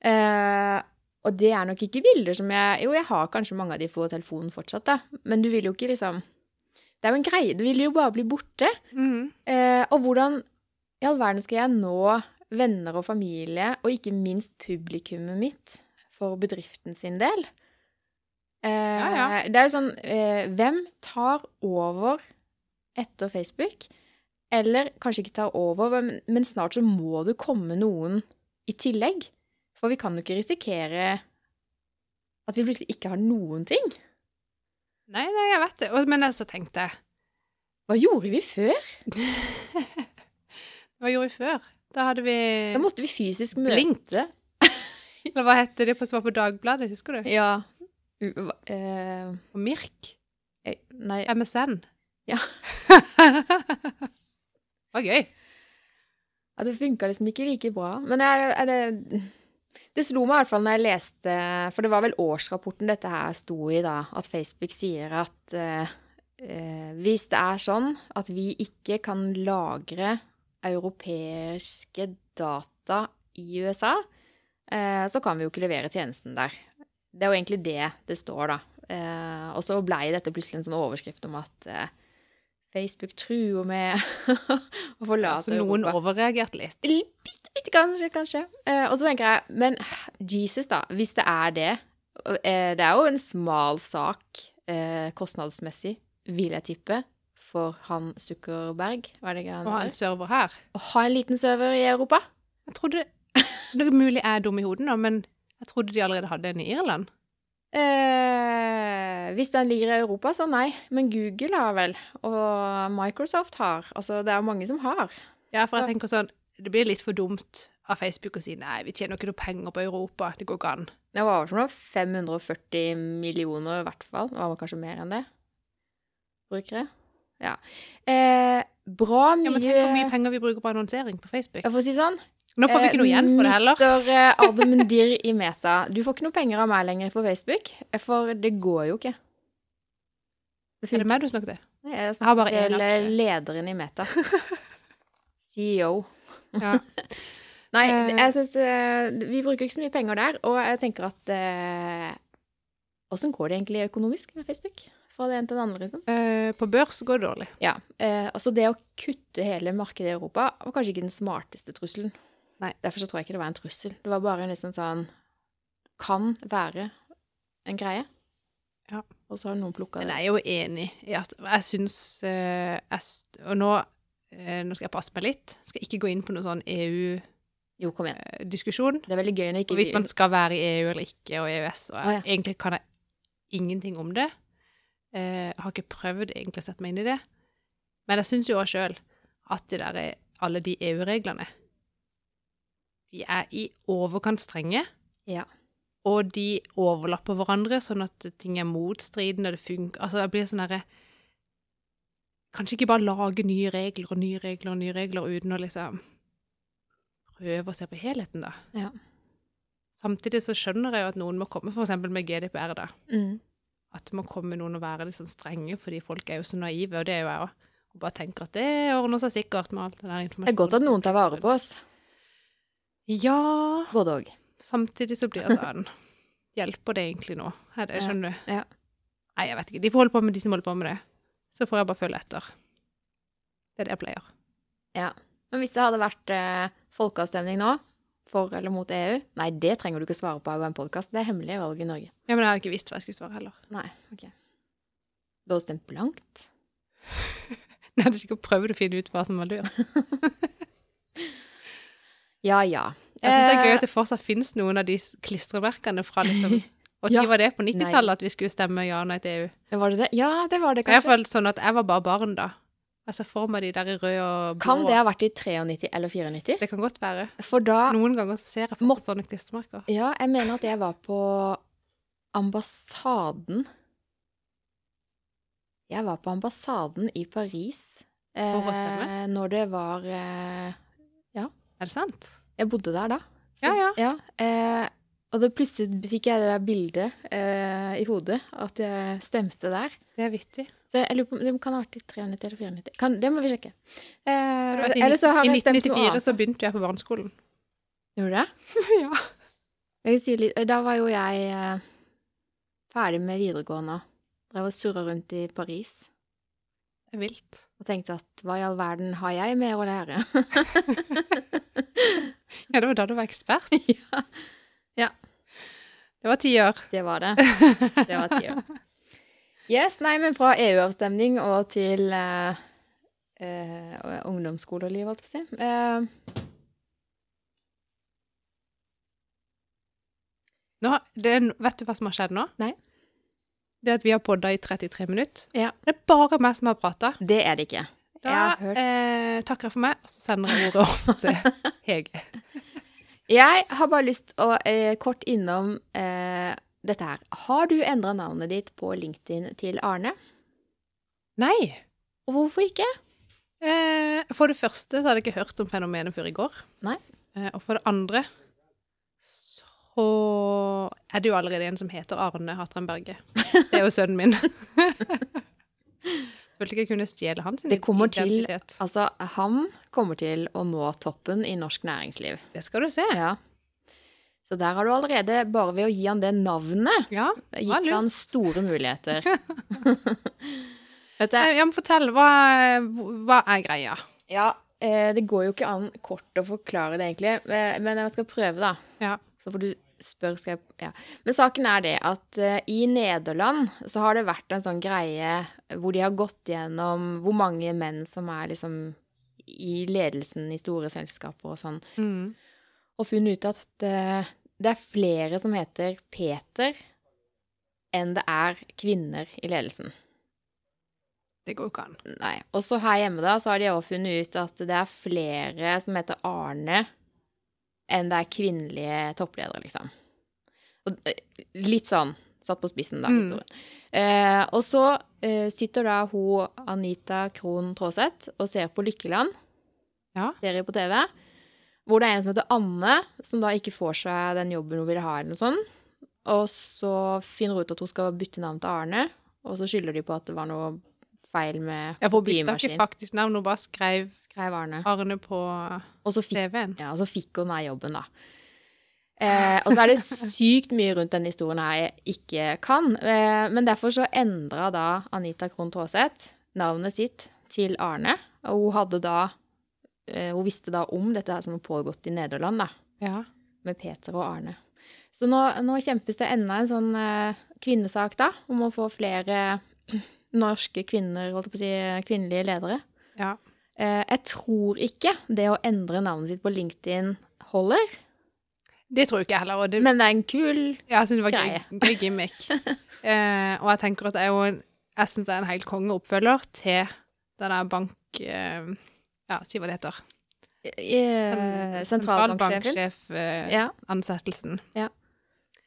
[SPEAKER 2] Eh, og det er nok ikke bilder som jeg Jo, jeg har kanskje mange av de på telefonen fortsatt, da. Men du vil jo ikke liksom Det er jo en greie. Du vil jo bare bli borte.
[SPEAKER 1] Mm.
[SPEAKER 2] Eh, og hvordan i all verden skal jeg nå venner og familie, og ikke minst publikummet mitt, for bedriften sin del? Eh,
[SPEAKER 1] Ja,
[SPEAKER 2] Det er jo sånn eh, Hvem tar over etter Facebook? Eller kanskje ikke tar over, men, men snart så må det komme noen i tillegg. For vi kan jo ikke risikere at vi plutselig ikke har noen ting.
[SPEAKER 1] Nei, nei, jeg vet det. Og- Men så tenkte jeg
[SPEAKER 2] Hva gjorde vi før?
[SPEAKER 1] Hva gjorde vi før? Da hadde vi
[SPEAKER 2] Da måtte vi fysisk møte
[SPEAKER 1] Blink. Eller hva het det på- som var på Dagbladet, husker du?
[SPEAKER 2] Ja. U- hva- eh,
[SPEAKER 1] Og Mirk.
[SPEAKER 2] Eh, Nei,
[SPEAKER 1] MSN.
[SPEAKER 2] Ja.
[SPEAKER 1] det var gøy.
[SPEAKER 2] ja, det funka liksom ikke like bra. Men er, er det Det slo meg i hvert fall når jeg leste For det var vel årsrapporten dette her sto i, da. At Facebook sier at eh, eh, hvis det er sånn at vi ikke kan lagre europeiske data i USA, eh, så kan vi jo ikke levere tjenesten der. Det er jo egentlig det det står, da. Eh, og så blei dette plutselig en sånn overskrift om at eh, Facebook truer med å
[SPEAKER 1] Så
[SPEAKER 2] forlate
[SPEAKER 1] noen
[SPEAKER 2] Europa.
[SPEAKER 1] overreagerte litt.
[SPEAKER 2] Bitte, bitte kanskje, kanskje. Eh, og så tenker jeg, men eh, Jesus da, hvis det er det, og, eh, det er jo en smal sak eh, kostnadsmessig, vil jeg tippe, for han Zuckerberg, var det ikke han?
[SPEAKER 1] Å ha en
[SPEAKER 2] heter?
[SPEAKER 1] server her.
[SPEAKER 2] Å ha en liten server i Europa?
[SPEAKER 1] Jeg trodde Det er mulig jeg er dum i hodet nå, men jeg trodde de allerede hadde en i Irland.
[SPEAKER 2] Eh, hvis den ligger i Europa, så nei. Men Google har vel, og Microsoft har. Altså, det er jo mange som har.
[SPEAKER 1] Ja, for jeg tenker sånn Det blir litt for dumt av Facebook å si nei, vi tjener ikke noe penger på Europa, det går ikke an.
[SPEAKER 2] Det var vel for noe 540 millioner i hvert fall. Det var kanskje mer enn det. Brukere. Eh, bra
[SPEAKER 1] Ja,
[SPEAKER 2] mye
[SPEAKER 1] men tenk hvor mye penger vi bruker på annonsering på Facebook.
[SPEAKER 2] Ja, For å si det sånn Eh,
[SPEAKER 1] Nå får vi ikke noe igjen for det heller.
[SPEAKER 2] Mister Ardemundir i Meta, du får ikke noe penger av meg lenger på Facebook, eh, for det går jo ikke.
[SPEAKER 1] Er
[SPEAKER 2] Det
[SPEAKER 1] det
[SPEAKER 2] funker
[SPEAKER 1] meg du snakker til?
[SPEAKER 2] ikke. Jeg
[SPEAKER 1] Jeg har bare
[SPEAKER 2] snakker
[SPEAKER 1] én
[SPEAKER 2] til eh,
[SPEAKER 1] aksje.
[SPEAKER 2] lederen i Meta. CEO.
[SPEAKER 1] Ja.
[SPEAKER 2] Nei,
[SPEAKER 1] Eh.
[SPEAKER 2] det- jeg syns eh, Vi bruker ikke så mye penger der, og jeg tenker at eh, Åssen går det egentlig økonomisk med Facebook? Fra det ene til det andre, liksom.
[SPEAKER 1] Eh, på børs går det dårlig.
[SPEAKER 2] Ja, eh, altså det å kutte hele markedet i Europa var kanskje ikke den smarteste trusselen.
[SPEAKER 1] Nei.
[SPEAKER 2] Derfor så tror jeg ikke det var en trussel. Det var bare en liksom sånn Kan være en greie.
[SPEAKER 1] Ja.
[SPEAKER 2] Og så har noen plukka
[SPEAKER 1] Men
[SPEAKER 2] det.
[SPEAKER 1] jeg er jo enig i at Jeg syns eh, jeg s- Og nå, eh, nå skal jeg passe meg litt. Skal ikke gå inn på noen sånn eh,
[SPEAKER 2] Jo, kom igjen.
[SPEAKER 1] EU-diskusjon.
[SPEAKER 2] Det er veldig gøy når ikke
[SPEAKER 1] Hvorvidt man skal være i EU eller ikke, og E EØS. Og jeg,
[SPEAKER 2] Å, ja.
[SPEAKER 1] Egentlig kan jeg ingenting om det. Eh, Jeg har ikke prøvd egentlig å sette meg inn i det. Men jeg syns jo òg sjøl at det der er alle de EU-reglene De er i overkant strenge,
[SPEAKER 2] Ja.
[SPEAKER 1] og de overlapper hverandre, sånn at ting er motstridende, det funker Altså, jeg blir sånn derre Kanskje ikke bare lage nye regler og nye regler og nye regler uten å liksom prøve å se på helheten, da.
[SPEAKER 2] Ja.
[SPEAKER 1] Samtidig så skjønner jeg jo at noen må komme, f.eks. med GDPR, da.
[SPEAKER 2] Mm.
[SPEAKER 1] At det må komme noen og være litt sånn strenge, fordi folk er jo så naive, og det er jo jeg òg. Og bare tenker at det ordner seg sikkert med alt den der informasjonen.
[SPEAKER 2] Det er godt at noen tar vare på oss.
[SPEAKER 1] Ja.
[SPEAKER 2] Både òg.
[SPEAKER 1] Samtidig så blir jeg sånn Hjelper det egentlig nå? Er det,
[SPEAKER 2] Ja,
[SPEAKER 1] skjønner du?
[SPEAKER 2] ja.
[SPEAKER 1] Nei, jeg vet ikke. De får holde på med de som holder på med det. Så får jeg bare følge etter. Det er det jeg pleier.
[SPEAKER 2] Men hvis det hadde vært eh, folkeavstemning nå, for eller mot E EU Nei, det trenger du ikke svare på i en podkast. Det er hemmelige valg i Norge.
[SPEAKER 1] Ja, men jeg har ikke visst hva jeg skulle svare heller.
[SPEAKER 2] Nei, ok. Du hadde stemt blankt?
[SPEAKER 1] Jeg hadde sikkert prøvd å finne ut hva som var lurt.
[SPEAKER 2] Ja ja.
[SPEAKER 1] Jeg synes det er gøy at det fortsatt finnes noen av de s- klistremerkene fra liksom Og
[SPEAKER 2] Eh, Ja.
[SPEAKER 1] når var det på 90-tallet at vi skulle stemme ja nei til EU?
[SPEAKER 2] Eh, Var det det? Ja, det var det
[SPEAKER 1] Det er i hvert
[SPEAKER 2] kanskje.
[SPEAKER 1] fall sånn at jeg var bare barn da. Jeg ser for meg de der i rød og blå.
[SPEAKER 2] Kan det ha vært i 93 eller 94?
[SPEAKER 1] Det kan godt være.
[SPEAKER 2] For da
[SPEAKER 1] Noen ganger så ser jeg
[SPEAKER 2] Må-
[SPEAKER 1] fortsatt sånne klistremerker.
[SPEAKER 2] Ja, jeg mener at jeg var på ambassaden Jeg var på ambassaden i Paris eh,
[SPEAKER 1] For å stemme?
[SPEAKER 2] når det var eh,
[SPEAKER 1] Er det sant?
[SPEAKER 2] Jeg bodde der da.
[SPEAKER 1] Ja, ja.
[SPEAKER 2] eh, og da plutselig fikk jeg det der bildet eh, i hodet, at jeg stemte der.
[SPEAKER 1] Det er vittig.
[SPEAKER 2] Så jeg lurer på om det kan ha vært i 93 eller 94. Kan, det må vi sjekke. Eh,
[SPEAKER 1] For det var at
[SPEAKER 2] eller så har
[SPEAKER 1] I
[SPEAKER 2] jeg stemt noe
[SPEAKER 1] 1994
[SPEAKER 2] annet.
[SPEAKER 1] så begynte jeg på barneskolen.
[SPEAKER 2] Gjorde du det?
[SPEAKER 1] ja.
[SPEAKER 2] Jeg sier litt, da var jo jeg eh, ferdig med videregående. Drev og surra rundt i Paris
[SPEAKER 1] Det er vilt.
[SPEAKER 2] og tenkte at hva i all verden har jeg med å lære?
[SPEAKER 1] Ja, det var da du var ekspert.
[SPEAKER 2] ja,
[SPEAKER 1] Det var ti år.
[SPEAKER 2] det var det. Det var tida. Yes, nei, men fra EU-avstemning og til eh, eh, ungdomsskoleliv, holdt jeg på å si. Eh,
[SPEAKER 1] Nå, har- det, er no- vet du hva som har skjedd nå?
[SPEAKER 2] Nei.
[SPEAKER 1] Det er at vi har podda i 33 minutter.
[SPEAKER 2] Ja.
[SPEAKER 1] Det er bare meg som har prata.
[SPEAKER 2] det er det ikke. Jeg
[SPEAKER 1] Da
[SPEAKER 2] har hørt-
[SPEAKER 1] eh, takker jeg for meg, og så sender jeg ordet over til Hege.
[SPEAKER 2] Jeg har bare lyst å eh, kort innom eh, dette her. Har du endra navnet ditt på LinkedIn til Arne?
[SPEAKER 1] Nei.
[SPEAKER 2] Og hvorfor ikke?
[SPEAKER 1] Eh, for det første så hadde jeg ikke hørt om fenomenet før i går.
[SPEAKER 2] Nei.
[SPEAKER 1] Eh, og for det andre så er det jo allerede en som heter Arne Hattrem Berge. Det er jo sønnen min. Følte ikke jeg kunne stjele hans
[SPEAKER 2] Det kommer til-
[SPEAKER 1] identitet.
[SPEAKER 2] Altså, han kommer til å nå toppen i norsk næringsliv.
[SPEAKER 1] Det skal du se.
[SPEAKER 2] Ja. Så der har du allerede, bare ved å gi han det navnet,
[SPEAKER 1] Ja. Ja,
[SPEAKER 2] gitt
[SPEAKER 1] lurt.
[SPEAKER 2] han store muligheter. Vet du,
[SPEAKER 1] Eh, ja men fortell, hva, hva er greia?
[SPEAKER 2] ja, eh, det går jo ikke an kort å forklare det egentlig, eh, men jeg skal prøve da.
[SPEAKER 1] Ja.
[SPEAKER 2] Så får du spørre, skal jeg Ja. Men saken er det at eh, i Nederland så har det vært en sånn greie hvor de har gått gjennom hvor mange menn som er liksom i ledelsen i store selskaper og sånn.
[SPEAKER 1] Mm.
[SPEAKER 2] og funnet ut at eh, det er flere som heter Peter enn det er kvinner i ledelsen.
[SPEAKER 1] Det går jo ikke an.
[SPEAKER 2] Nei. Og så her hjemme da, så har de også funnet ut at det er flere som heter Arne enn det er kvinnelige toppledere, liksom. Og eh, litt sånn Satt på spissen, da,
[SPEAKER 1] Mm.
[SPEAKER 2] historien. Eh, og så eh, sitter da hun Anita Krohn Traaseth og ser på Lykkeland,
[SPEAKER 1] Ja.
[SPEAKER 2] serie på TV, hvor det er en som heter Anne, som da ikke får seg den jobben hun vil ha, eller noe sånt. Og så finner hun ut at hun skal bytte navn til Arne, og så skylder de på at det var noe feil med
[SPEAKER 1] Jeg forbytta ikke
[SPEAKER 2] kopimaskinen.
[SPEAKER 1] faktisk navn, hun bare skrev
[SPEAKER 2] Skrev Arne.
[SPEAKER 1] Arne på
[SPEAKER 2] Og så fikk
[SPEAKER 1] CV-en.
[SPEAKER 2] ja, og så fikk hun den jobben, da. Eh, og så er det sykt mye rundt den historien her jeg ikke kan. Eh, men derfor så endra da Anita Krohn Traaseth navnet sitt til Arne. Og hun hadde da eh, Hun visste da om dette her som har pågått i Nederland, da.
[SPEAKER 1] Ja.
[SPEAKER 2] Med Peter og Arne. Så nå, nå kjempes det enda en sånn eh, kvinnesak, da. Om å få flere norske kvinner, holdt jeg på å si, kvinnelige ledere.
[SPEAKER 1] ja.
[SPEAKER 2] Eh, jeg tror ikke det å endre navnet sitt på LinkedIn holder,
[SPEAKER 1] Det tror jeg ikke heller. Og det,
[SPEAKER 2] men det er en kul
[SPEAKER 1] jeg syns det var
[SPEAKER 2] Greie.
[SPEAKER 1] gøy, gøy gimmick. Eh, og jeg tenker at det er jo en, jeg synes det er en helt konge oppfølger til den der bank... eh, ja, si hva det heter.
[SPEAKER 2] eh, sentralbanksjefen.
[SPEAKER 1] Sentralbanksjef-ansettelsen.
[SPEAKER 2] Ja. Ja.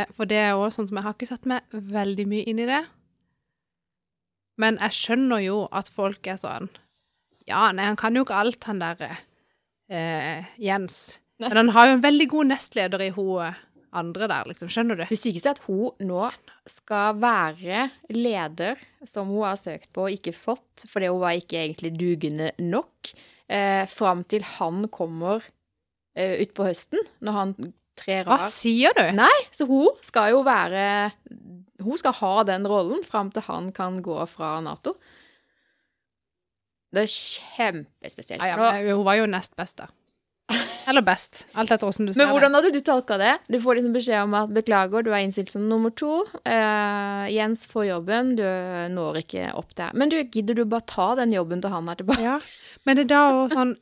[SPEAKER 1] Eh, for det er også sånn som jeg har ikke satt meg veldig mye inn i det. Men jeg skjønner jo at folk er sånn Ja, nei, han kan jo ikke alt, han derre eh, Jens.
[SPEAKER 2] Nei.
[SPEAKER 1] Men han har jo en veldig god nestleder i hun eh, andre der, liksom. Skjønner du?
[SPEAKER 2] Det sykeste er at hun nå skal være leder som hun har søkt på og ikke fått, fordi hun var ikke egentlig dugende nok, eh, fram til han kommer eh, utpå høsten, når han trer
[SPEAKER 1] Hva
[SPEAKER 2] av.
[SPEAKER 1] sier du?
[SPEAKER 2] Nei. Så hun skal jo være Hun skal ha den rollen fram til han kan gå fra Nato. Det er kjempespesielt.
[SPEAKER 1] Ja, ja,
[SPEAKER 2] Nå-
[SPEAKER 1] men hun var jo nest best, da. Eller best. Alt etter åssen du ser
[SPEAKER 2] men hvordan hadde du tolka det? Du får liksom beskjed om at beklager, du er innstilt som nummer to. Eh, Jens får jobben, du når ikke opp der. Men du, gidder du bare ta den jobben til han er tilbake?
[SPEAKER 1] Ja, men det er da også sånn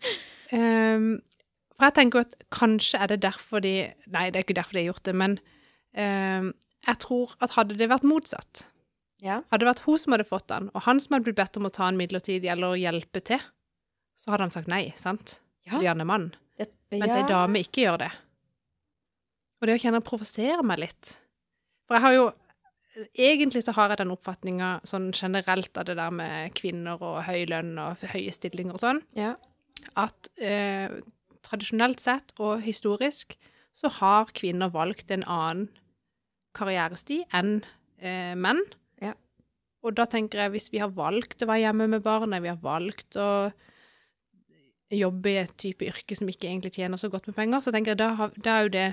[SPEAKER 1] ehm, For jeg tenker jo at kanskje er det derfor de Nei, det er ikke derfor de har gjort det, men ehm, jeg tror at hadde det vært motsatt
[SPEAKER 2] Ja.
[SPEAKER 1] Hadde det vært hun som hadde fått den, og han som hadde blitt bedt om å ta en midlertidig eller hjelpe til, så hadde han sagt nei, sant?
[SPEAKER 2] Ja.
[SPEAKER 1] Fordi han er mann.
[SPEAKER 2] Det,
[SPEAKER 1] Mens ei dame ikke gjør det. Og det å kjenne provoserer meg litt. For jeg har jo Egentlig så har jeg den oppfatninga sånn generelt av det der med kvinner og høy lønn og høye stillinger og sånn,
[SPEAKER 2] ja.
[SPEAKER 1] at eh, tradisjonelt sett og historisk så har kvinner valgt en annen karrieresti enn eh, menn.
[SPEAKER 2] Ja.
[SPEAKER 1] Og da tenker jeg, hvis vi har valgt å være hjemme med barna, vi har valgt å jobbe i et type yrke som ikke egentlig tjener så godt med penger, så tenker jeg da, har- da er jo det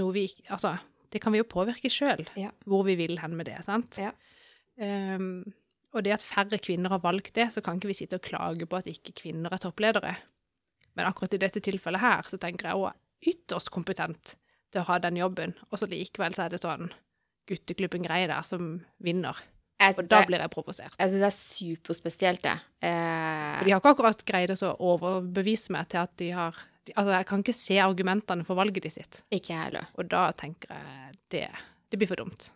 [SPEAKER 1] noe vi ikke Altså, det kan vi jo påvirke sjøl,
[SPEAKER 2] Ja.
[SPEAKER 1] hvor vi vil hen med det, sant?
[SPEAKER 2] Ja.
[SPEAKER 1] Ehm, og det at færre kvinner har valgt det, så kan ikke vi sitte og klage på at ikke kvinner er toppledere. Men akkurat i dette tilfellet her, så tenker jeg hun er ytterst kompetent til å ha den jobben, og så likevel så er det sånn gutteklubben-greie der som vinner.
[SPEAKER 2] Jeg
[SPEAKER 1] Og
[SPEAKER 2] syns
[SPEAKER 1] da
[SPEAKER 2] det,
[SPEAKER 1] blir jeg provosert.
[SPEAKER 2] jeg synes det er superspesielt, det. Eh,
[SPEAKER 1] For de har ikke akkurat greid å så overbevise meg til at de har de- Altså, jeg kan ikke se argumentene for valget de sitt.
[SPEAKER 2] ikke jeg heller.
[SPEAKER 1] Og da tenker jeg det Det blir for dumt.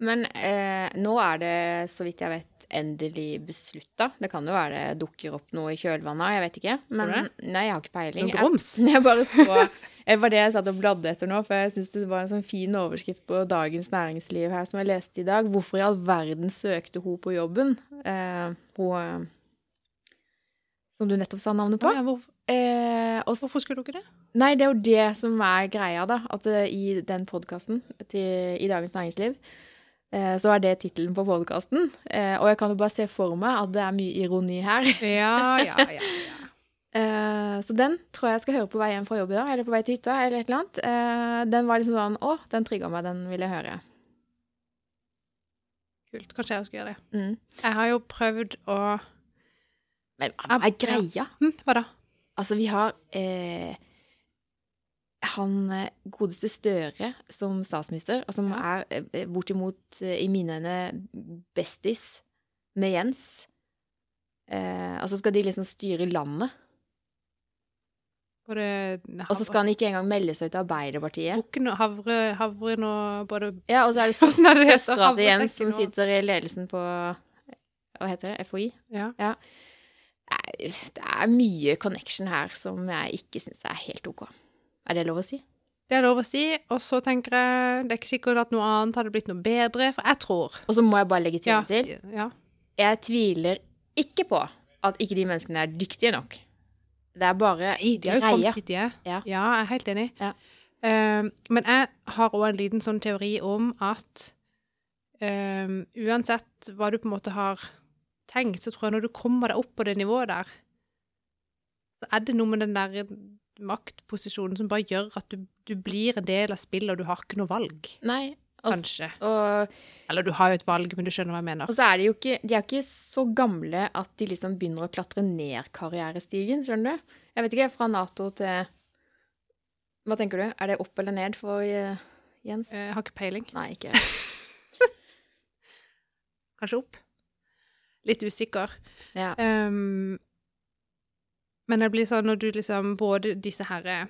[SPEAKER 2] Men eh, nå er det, så vidt jeg vet, endelig beslutta. Det kan jo være det dukker opp noe i kjølvannet, jeg vet ikke. Men
[SPEAKER 1] Tror
[SPEAKER 2] nei, jeg har ikke peiling.
[SPEAKER 1] Noe grums.
[SPEAKER 2] Jeg, jeg bare så Det var det jeg satt og bladde etter nå, for jeg syns det var en sånn fin overskrift på Dagens Næringsliv her som jeg leste i dag. Hvorfor i all verden søkte hun på jobben? Eh, hun eh, Som du nettopp sa navnet på?
[SPEAKER 1] Ja, hvor,
[SPEAKER 2] Eh, og s-
[SPEAKER 1] hvorfor skulle du ikke det?
[SPEAKER 2] Nei, det er jo det som er greia, da. At eh, i den podkasten i Dagens Næringsliv, eh, så er det tittelen på podkasten. Eh, og jeg kan jo bare se for meg at det er mye ironi her.
[SPEAKER 1] Ja, ja, ja.
[SPEAKER 2] Eh, så den tror jeg skal høre på vei hjem fra jobb i dag, eller på vei til hytta, eller et eller annet. Eh, den var liksom sånn Å, den trigga meg, den vil jeg høre.
[SPEAKER 1] Kult. Kanskje jeg også skal gjøre det.
[SPEAKER 2] Mm.
[SPEAKER 1] Jeg har jo prøvd å
[SPEAKER 2] Men hva er greia?
[SPEAKER 1] hm, Hva da?
[SPEAKER 2] Altså, vi har eh, han eh, godeste Støre som statsminister, og som
[SPEAKER 1] Ja.
[SPEAKER 2] er eh, bortimot eh, i mine øyne bestis med Jens. Eh, og så skal de liksom styre landet.
[SPEAKER 1] Både
[SPEAKER 2] Og så skal han ikke engang melde seg ut av Arbeiderpartiet.
[SPEAKER 1] Bukken og havre, havren og både
[SPEAKER 2] Ja, Og så er det
[SPEAKER 1] Hvordan er det det heter?
[SPEAKER 2] søstera til Jens som
[SPEAKER 1] Havresekken og-
[SPEAKER 2] sitter i ledelsen på Hva heter det? FHI?
[SPEAKER 1] Ja.
[SPEAKER 2] Nei, Det er mye connection her som jeg ikke syns er helt OK. Er det lov å si?
[SPEAKER 1] Det er lov å si. Og så tenker jeg det er ikke sikkert at noe annet hadde blitt noe bedre, for jeg tror
[SPEAKER 2] Og så må jeg bare legge til
[SPEAKER 1] ja,
[SPEAKER 2] til
[SPEAKER 1] ja.
[SPEAKER 2] Jeg tviler ikke på at ikke de menneskene er dyktige nok. Det er bare
[SPEAKER 1] Nei, de har jo
[SPEAKER 2] greier.
[SPEAKER 1] kommet dit de er.
[SPEAKER 2] Ja.
[SPEAKER 1] jeg er helt enig.
[SPEAKER 2] Ja.
[SPEAKER 1] Eh, men jeg har òg en liten sånn teori om at eh, uansett hva du på en måte har tenkt, så tror jeg når du kommer deg opp på det nivået der, så er det noe med den der maktposisjonen som bare gjør at du, du blir en del av spillet, og du har ikke noe valg,
[SPEAKER 2] Nei. Og,
[SPEAKER 1] kanskje.
[SPEAKER 2] og,
[SPEAKER 1] Eller du har jo et valg, men du skjønner hva jeg mener.
[SPEAKER 2] og så er de jo ikke De er ikke så gamle at de liksom begynner å klatre ned karrierestigen, skjønner du? Jeg vet ikke, fra Nato til Hva tenker du? Er det opp eller ned for eh, Jens?
[SPEAKER 1] Eh, Jeg har ikke peiling.
[SPEAKER 2] Nei, ikke
[SPEAKER 1] Kanskje opp. Litt usikker.
[SPEAKER 2] ja.
[SPEAKER 1] Ehm, men det blir sånn når du liksom både disse herre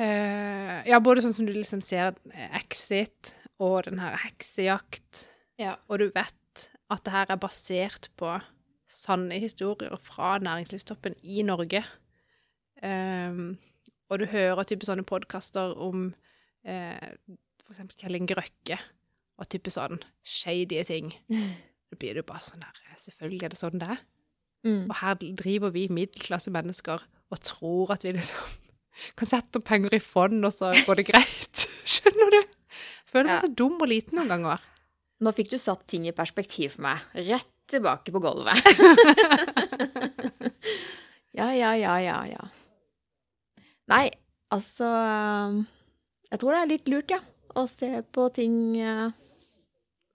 [SPEAKER 1] eh, Ja, både sånn som du liksom ser eh, Exit og den her heksejakt,
[SPEAKER 2] Ja.
[SPEAKER 1] og du vet at det her er basert på sanne historier fra næringslivstoppen i Norge. Ehm, og du hører type sånne podkaster om eh, for eksempel Kjell Inge Røkke og type sånn shady ting. Da blir det jo bare sånn der Selvfølgelig er det sånn det er.
[SPEAKER 2] Mm.
[SPEAKER 1] Og her driver vi middelklasse mennesker og tror at vi liksom kan sette opp penger i fond, og så går det greit. Skjønner du? Føler meg
[SPEAKER 2] Ja.
[SPEAKER 1] så dum og liten noen ganger.
[SPEAKER 2] Nå fikk du satt ting i perspektiv for meg. Rett tilbake på gulvet. ja, ja, ja, ja, ja. Nei, altså eh, Jeg tror det er litt lurt, ja. Å se på ting eh,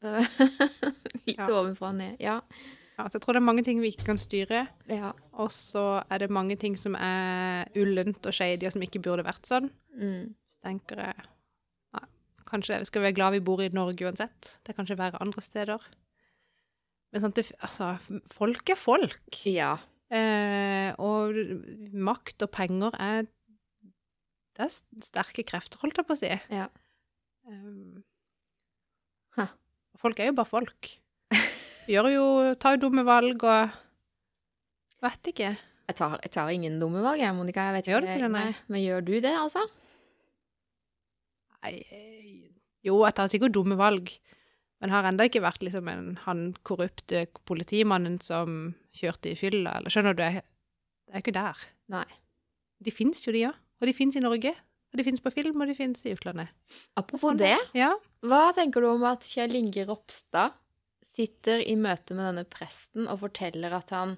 [SPEAKER 2] litt
[SPEAKER 1] Ja.
[SPEAKER 2] ovenfra og ned. Ja.
[SPEAKER 1] Ja, så jeg tror det er mange ting vi ikke kan styre,
[SPEAKER 2] ja.
[SPEAKER 1] og så er det mange ting som er ullent og shady, og som ikke burde vært sånn.
[SPEAKER 2] Mm.
[SPEAKER 1] Så tenker jeg ja, Kanskje vi skal være glad vi bor i Norge uansett. Det kan ikke være andre steder. Men sånn at det, altså, folk er folk.
[SPEAKER 2] ja.
[SPEAKER 1] Eh, og makt og penger er Det er s- sterke krefter, holdt jeg på å si.
[SPEAKER 2] Ja.
[SPEAKER 1] Um,
[SPEAKER 2] Hæ.
[SPEAKER 1] Folk er jo bare folk. Gjør jo Tar jo dumme valg og Vet ikke.
[SPEAKER 2] Jeg tar, jeg tar ingen dumme valg, jeg, Monica. Jeg vet
[SPEAKER 1] Gjør du ikke det, nei?
[SPEAKER 2] Men gjør du det, altså?
[SPEAKER 1] Nei eh, Jo, jeg tar sikkert dumme valg, men har ennå ikke vært liksom en, han korrupte politimannen som kjørte i fylla, eller skjønner du? Jeg jeg er ikke der.
[SPEAKER 2] Nei.
[SPEAKER 1] De fins jo, de òg. Og de fins i Norge. Og de fins på film, og de fins i utlandet.
[SPEAKER 2] Apropos
[SPEAKER 1] Sånn,
[SPEAKER 2] det.
[SPEAKER 1] Ja.
[SPEAKER 2] Hva tenker du om at Kjell Inge Ropstad sitter i møte med denne presten og forteller at han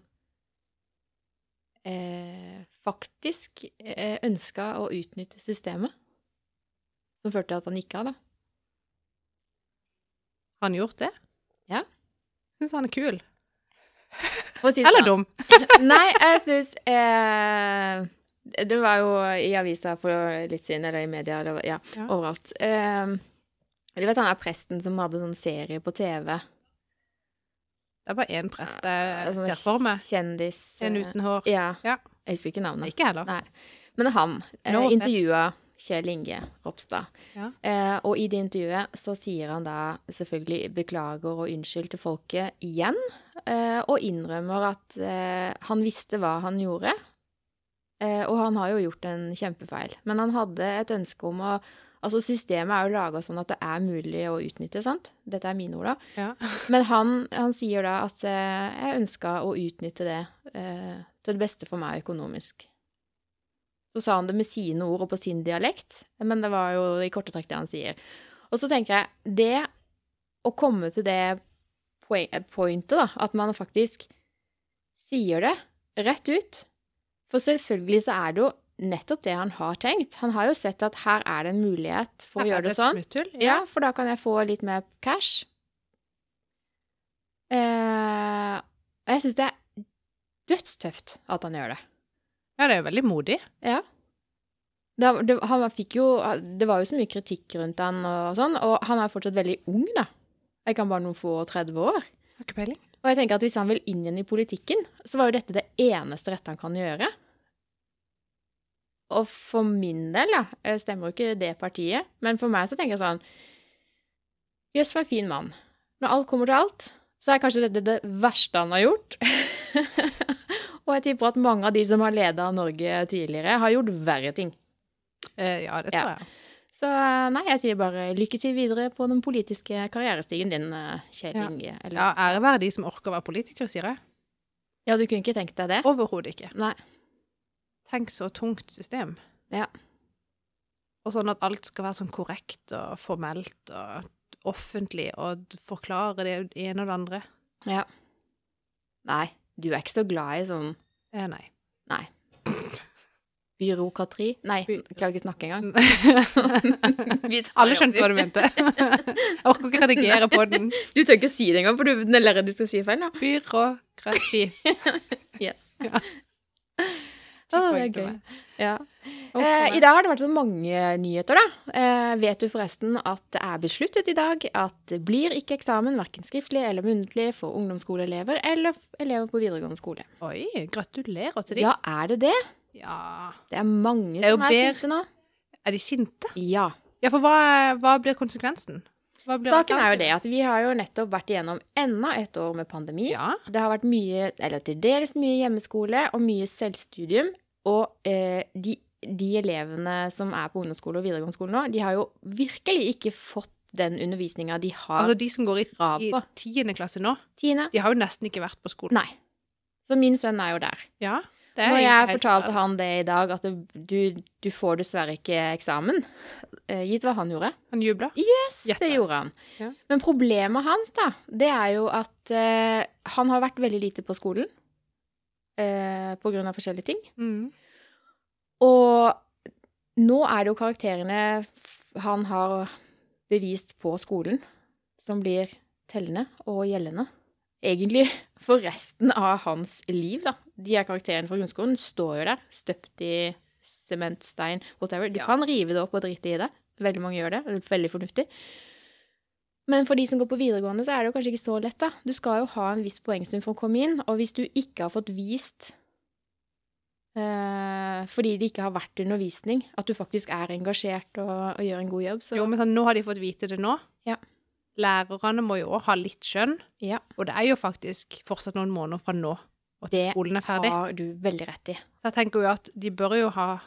[SPEAKER 2] eh, faktisk eh, ønska å utnytte systemet? Som førte til at han gikk av, da.
[SPEAKER 1] Har han gjort det?
[SPEAKER 2] Ja.
[SPEAKER 1] Syns han er kul.
[SPEAKER 2] For å si det
[SPEAKER 1] Eller
[SPEAKER 2] sånn.
[SPEAKER 1] dum.
[SPEAKER 2] Nei, jeg syns eh, Det var jo i avisa for litt siden, eller i media, eller ja,
[SPEAKER 1] Ja.
[SPEAKER 2] overalt. Eh, du vet han er presten som hadde sånn serie på TV?
[SPEAKER 1] Det er bare én prest
[SPEAKER 2] Eh,
[SPEAKER 1] jeg
[SPEAKER 2] sånn
[SPEAKER 1] ser for meg.
[SPEAKER 2] Kjendis.
[SPEAKER 1] En
[SPEAKER 2] eh,
[SPEAKER 1] uten hår.
[SPEAKER 2] Ja.
[SPEAKER 1] Ja.
[SPEAKER 2] Jeg husker ikke navnet.
[SPEAKER 1] Ikke jeg heller.
[SPEAKER 2] Nei. Men han
[SPEAKER 1] No
[SPEAKER 2] eh,
[SPEAKER 1] offense.
[SPEAKER 2] intervjua Kjell Inge Ropstad.
[SPEAKER 1] Ja.
[SPEAKER 2] Eh, og i det intervjuet så sier han da selvfølgelig beklager og unnskyld til folket igjen. Eh, og innrømmer at eh, han visste hva han gjorde. Eh, og han har jo gjort en kjempefeil. Men han hadde et ønske om å Altså, systemet er jo laga sånn at det er mulig å utnytte, sant? Dette er mine ord, da.
[SPEAKER 1] Ja.
[SPEAKER 2] Men han, han sier da at eh, jeg ønska å utnytte det eh, til det beste for meg økonomisk. Så sa han det med sine ord og på sin dialekt, men det var jo i korte trekk det han sier. Og så tenker jeg, det å komme til det poen- eh, pointet, da, at man faktisk sier det rett ut For selvfølgelig så er det jo nettopp det han har tenkt. Han har jo sett at her er det en mulighet for å
[SPEAKER 1] Ja,
[SPEAKER 2] gjøre det
[SPEAKER 1] et
[SPEAKER 2] sånn.
[SPEAKER 1] Smutthull. Ja.
[SPEAKER 2] Ja, for da kan jeg få litt mer cash. Eh, og jeg syns det er dødstøft at han gjør det.
[SPEAKER 1] ja, det er jo veldig modig.
[SPEAKER 2] Ja. Da, det, han var- fikk jo Det var jo så mye kritikk rundt han og sånn, og han er fortsatt veldig ung, da. Er ikke han bare noen få og 30 år?
[SPEAKER 1] Har ikke peiling.
[SPEAKER 2] Og jeg tenker at hvis han vil inn igjen i politikken, så var jo dette det eneste rette han kan gjøre. Og for min del, da, jeg stemmer jo ikke det partiet, men for meg så tenker jeg sånn Jøss, for en fin mann. Når alt kommer til alt, så er kanskje dette det verste han har gjort. og jeg tipper at mange av de som har leda Norge tidligere, har gjort verre ting.
[SPEAKER 1] Eh, ja, det
[SPEAKER 2] Ja.
[SPEAKER 1] tror jeg.
[SPEAKER 2] Så eh, nei, jeg sier bare lykke til videre på den politiske karrierestigen din, eh, Kjell
[SPEAKER 1] Ja.
[SPEAKER 2] Inge. Eller,
[SPEAKER 1] Ja,
[SPEAKER 2] ja.
[SPEAKER 1] Ære være de som orker å være politikere, sier jeg.
[SPEAKER 2] du kunne ikke tenkt deg det?
[SPEAKER 1] Overhodet ikke.
[SPEAKER 2] Nei.
[SPEAKER 1] Tenk så tungt system.
[SPEAKER 2] Ja.
[SPEAKER 1] Og sånn at alt skal være sånn korrekt og formelt og offentlig og d- forklare det ene og det andre.
[SPEAKER 2] Ja. Nei, du er ikke så glad i sånn
[SPEAKER 1] Eh, nei.
[SPEAKER 2] byråkrateri. Nei,
[SPEAKER 1] By-
[SPEAKER 2] klarer ikke å snakke engang.
[SPEAKER 1] Alle skjønte hva du mente. Jeg orker ikke redigere på den.
[SPEAKER 2] Du tør ikke si det engang, for du er redd du skal si feil. da.
[SPEAKER 1] Byråkrati.
[SPEAKER 2] Yes.
[SPEAKER 1] Ja.
[SPEAKER 2] Å, det
[SPEAKER 1] poeng
[SPEAKER 2] er
[SPEAKER 1] til
[SPEAKER 2] gøy.
[SPEAKER 1] meg.
[SPEAKER 2] Ja.
[SPEAKER 1] Å,
[SPEAKER 2] Eh, I
[SPEAKER 1] faen.
[SPEAKER 2] dag har det vært så mange nyheter, da. Eh, vet du forresten at det er besluttet i dag at det blir ikke eksamen, verken skriftlig eller muntlig, for ungdomsskoleelever eller f- elever på videregående skole?
[SPEAKER 1] Oi, gratulerer til de.
[SPEAKER 2] Ja, er det det?
[SPEAKER 1] Ja.
[SPEAKER 2] Det er mange
[SPEAKER 1] Det er jo
[SPEAKER 2] som er
[SPEAKER 1] bedre-
[SPEAKER 2] sinte nå.
[SPEAKER 1] Er de sinte?
[SPEAKER 2] Ja.
[SPEAKER 1] Ja, for hva, hva blir konsekvensen? Hva blir
[SPEAKER 2] Saken er jo
[SPEAKER 1] alternativet?
[SPEAKER 2] det at vi har jo nettopp vært igjennom enda et år med pandemi.
[SPEAKER 1] Ja.
[SPEAKER 2] Det har vært mye, eller til dels mye hjemmeskole og mye selvstudium. Og eh, de, de elevene som er på ungdomsskole og videregående skole nå, de har jo virkelig ikke fått den undervisninga de har
[SPEAKER 1] Altså, de som går i,
[SPEAKER 2] krav
[SPEAKER 1] i
[SPEAKER 2] på.
[SPEAKER 1] tiende klasse nå,
[SPEAKER 2] Tiende?
[SPEAKER 1] de har jo nesten ikke vært på skolen.
[SPEAKER 2] Nei. Så min sønn er jo der.
[SPEAKER 1] Ja, det
[SPEAKER 2] Når jeg
[SPEAKER 1] helt
[SPEAKER 2] fortalte
[SPEAKER 1] klart.
[SPEAKER 2] han det i dag, at det- du, du får dessverre ikke eksamen, eh, gitt hva han gjorde
[SPEAKER 1] Han jubla.
[SPEAKER 2] Yes,
[SPEAKER 1] Gjett
[SPEAKER 2] det
[SPEAKER 1] det.
[SPEAKER 2] gjorde han.
[SPEAKER 1] Ja.
[SPEAKER 2] Men problemet hans, da, det er jo at eh, han har vært veldig lite på skolen eh, på grunn av forskjellige ting.
[SPEAKER 1] Mm.
[SPEAKER 2] Og nå er det jo karakterene f- han har bevist på skolen, som blir tellende og gjeldende. Egentlig for resten av hans liv, da. De her karakterene fra grunnskolen står jo der, støpt i sement, stein, whatever. Du
[SPEAKER 1] Ja.
[SPEAKER 2] kan rive det opp og drite i det. Veldig mange gjør det. det er Veldig fornuftig. Men for de som går på videregående, så er det jo kanskje ikke så lett, da. Du skal jo ha en viss poengsum for å komme inn, og hvis du ikke har fått vist eh, fordi det ikke har vært undervisning, at du faktisk er engasjert og, og gjør en god jobb, så
[SPEAKER 1] Jo, men sånn, nå har de fått vite det nå.
[SPEAKER 2] Ja.
[SPEAKER 1] Lærerne må jo også ha litt skjønn.
[SPEAKER 2] Ja.
[SPEAKER 1] Og det er jo faktisk fortsatt noen måneder fra nå at
[SPEAKER 2] Det
[SPEAKER 1] skolen er ferdig.
[SPEAKER 2] har du veldig rett i.
[SPEAKER 1] Så jeg tenker jo at de bør jo ha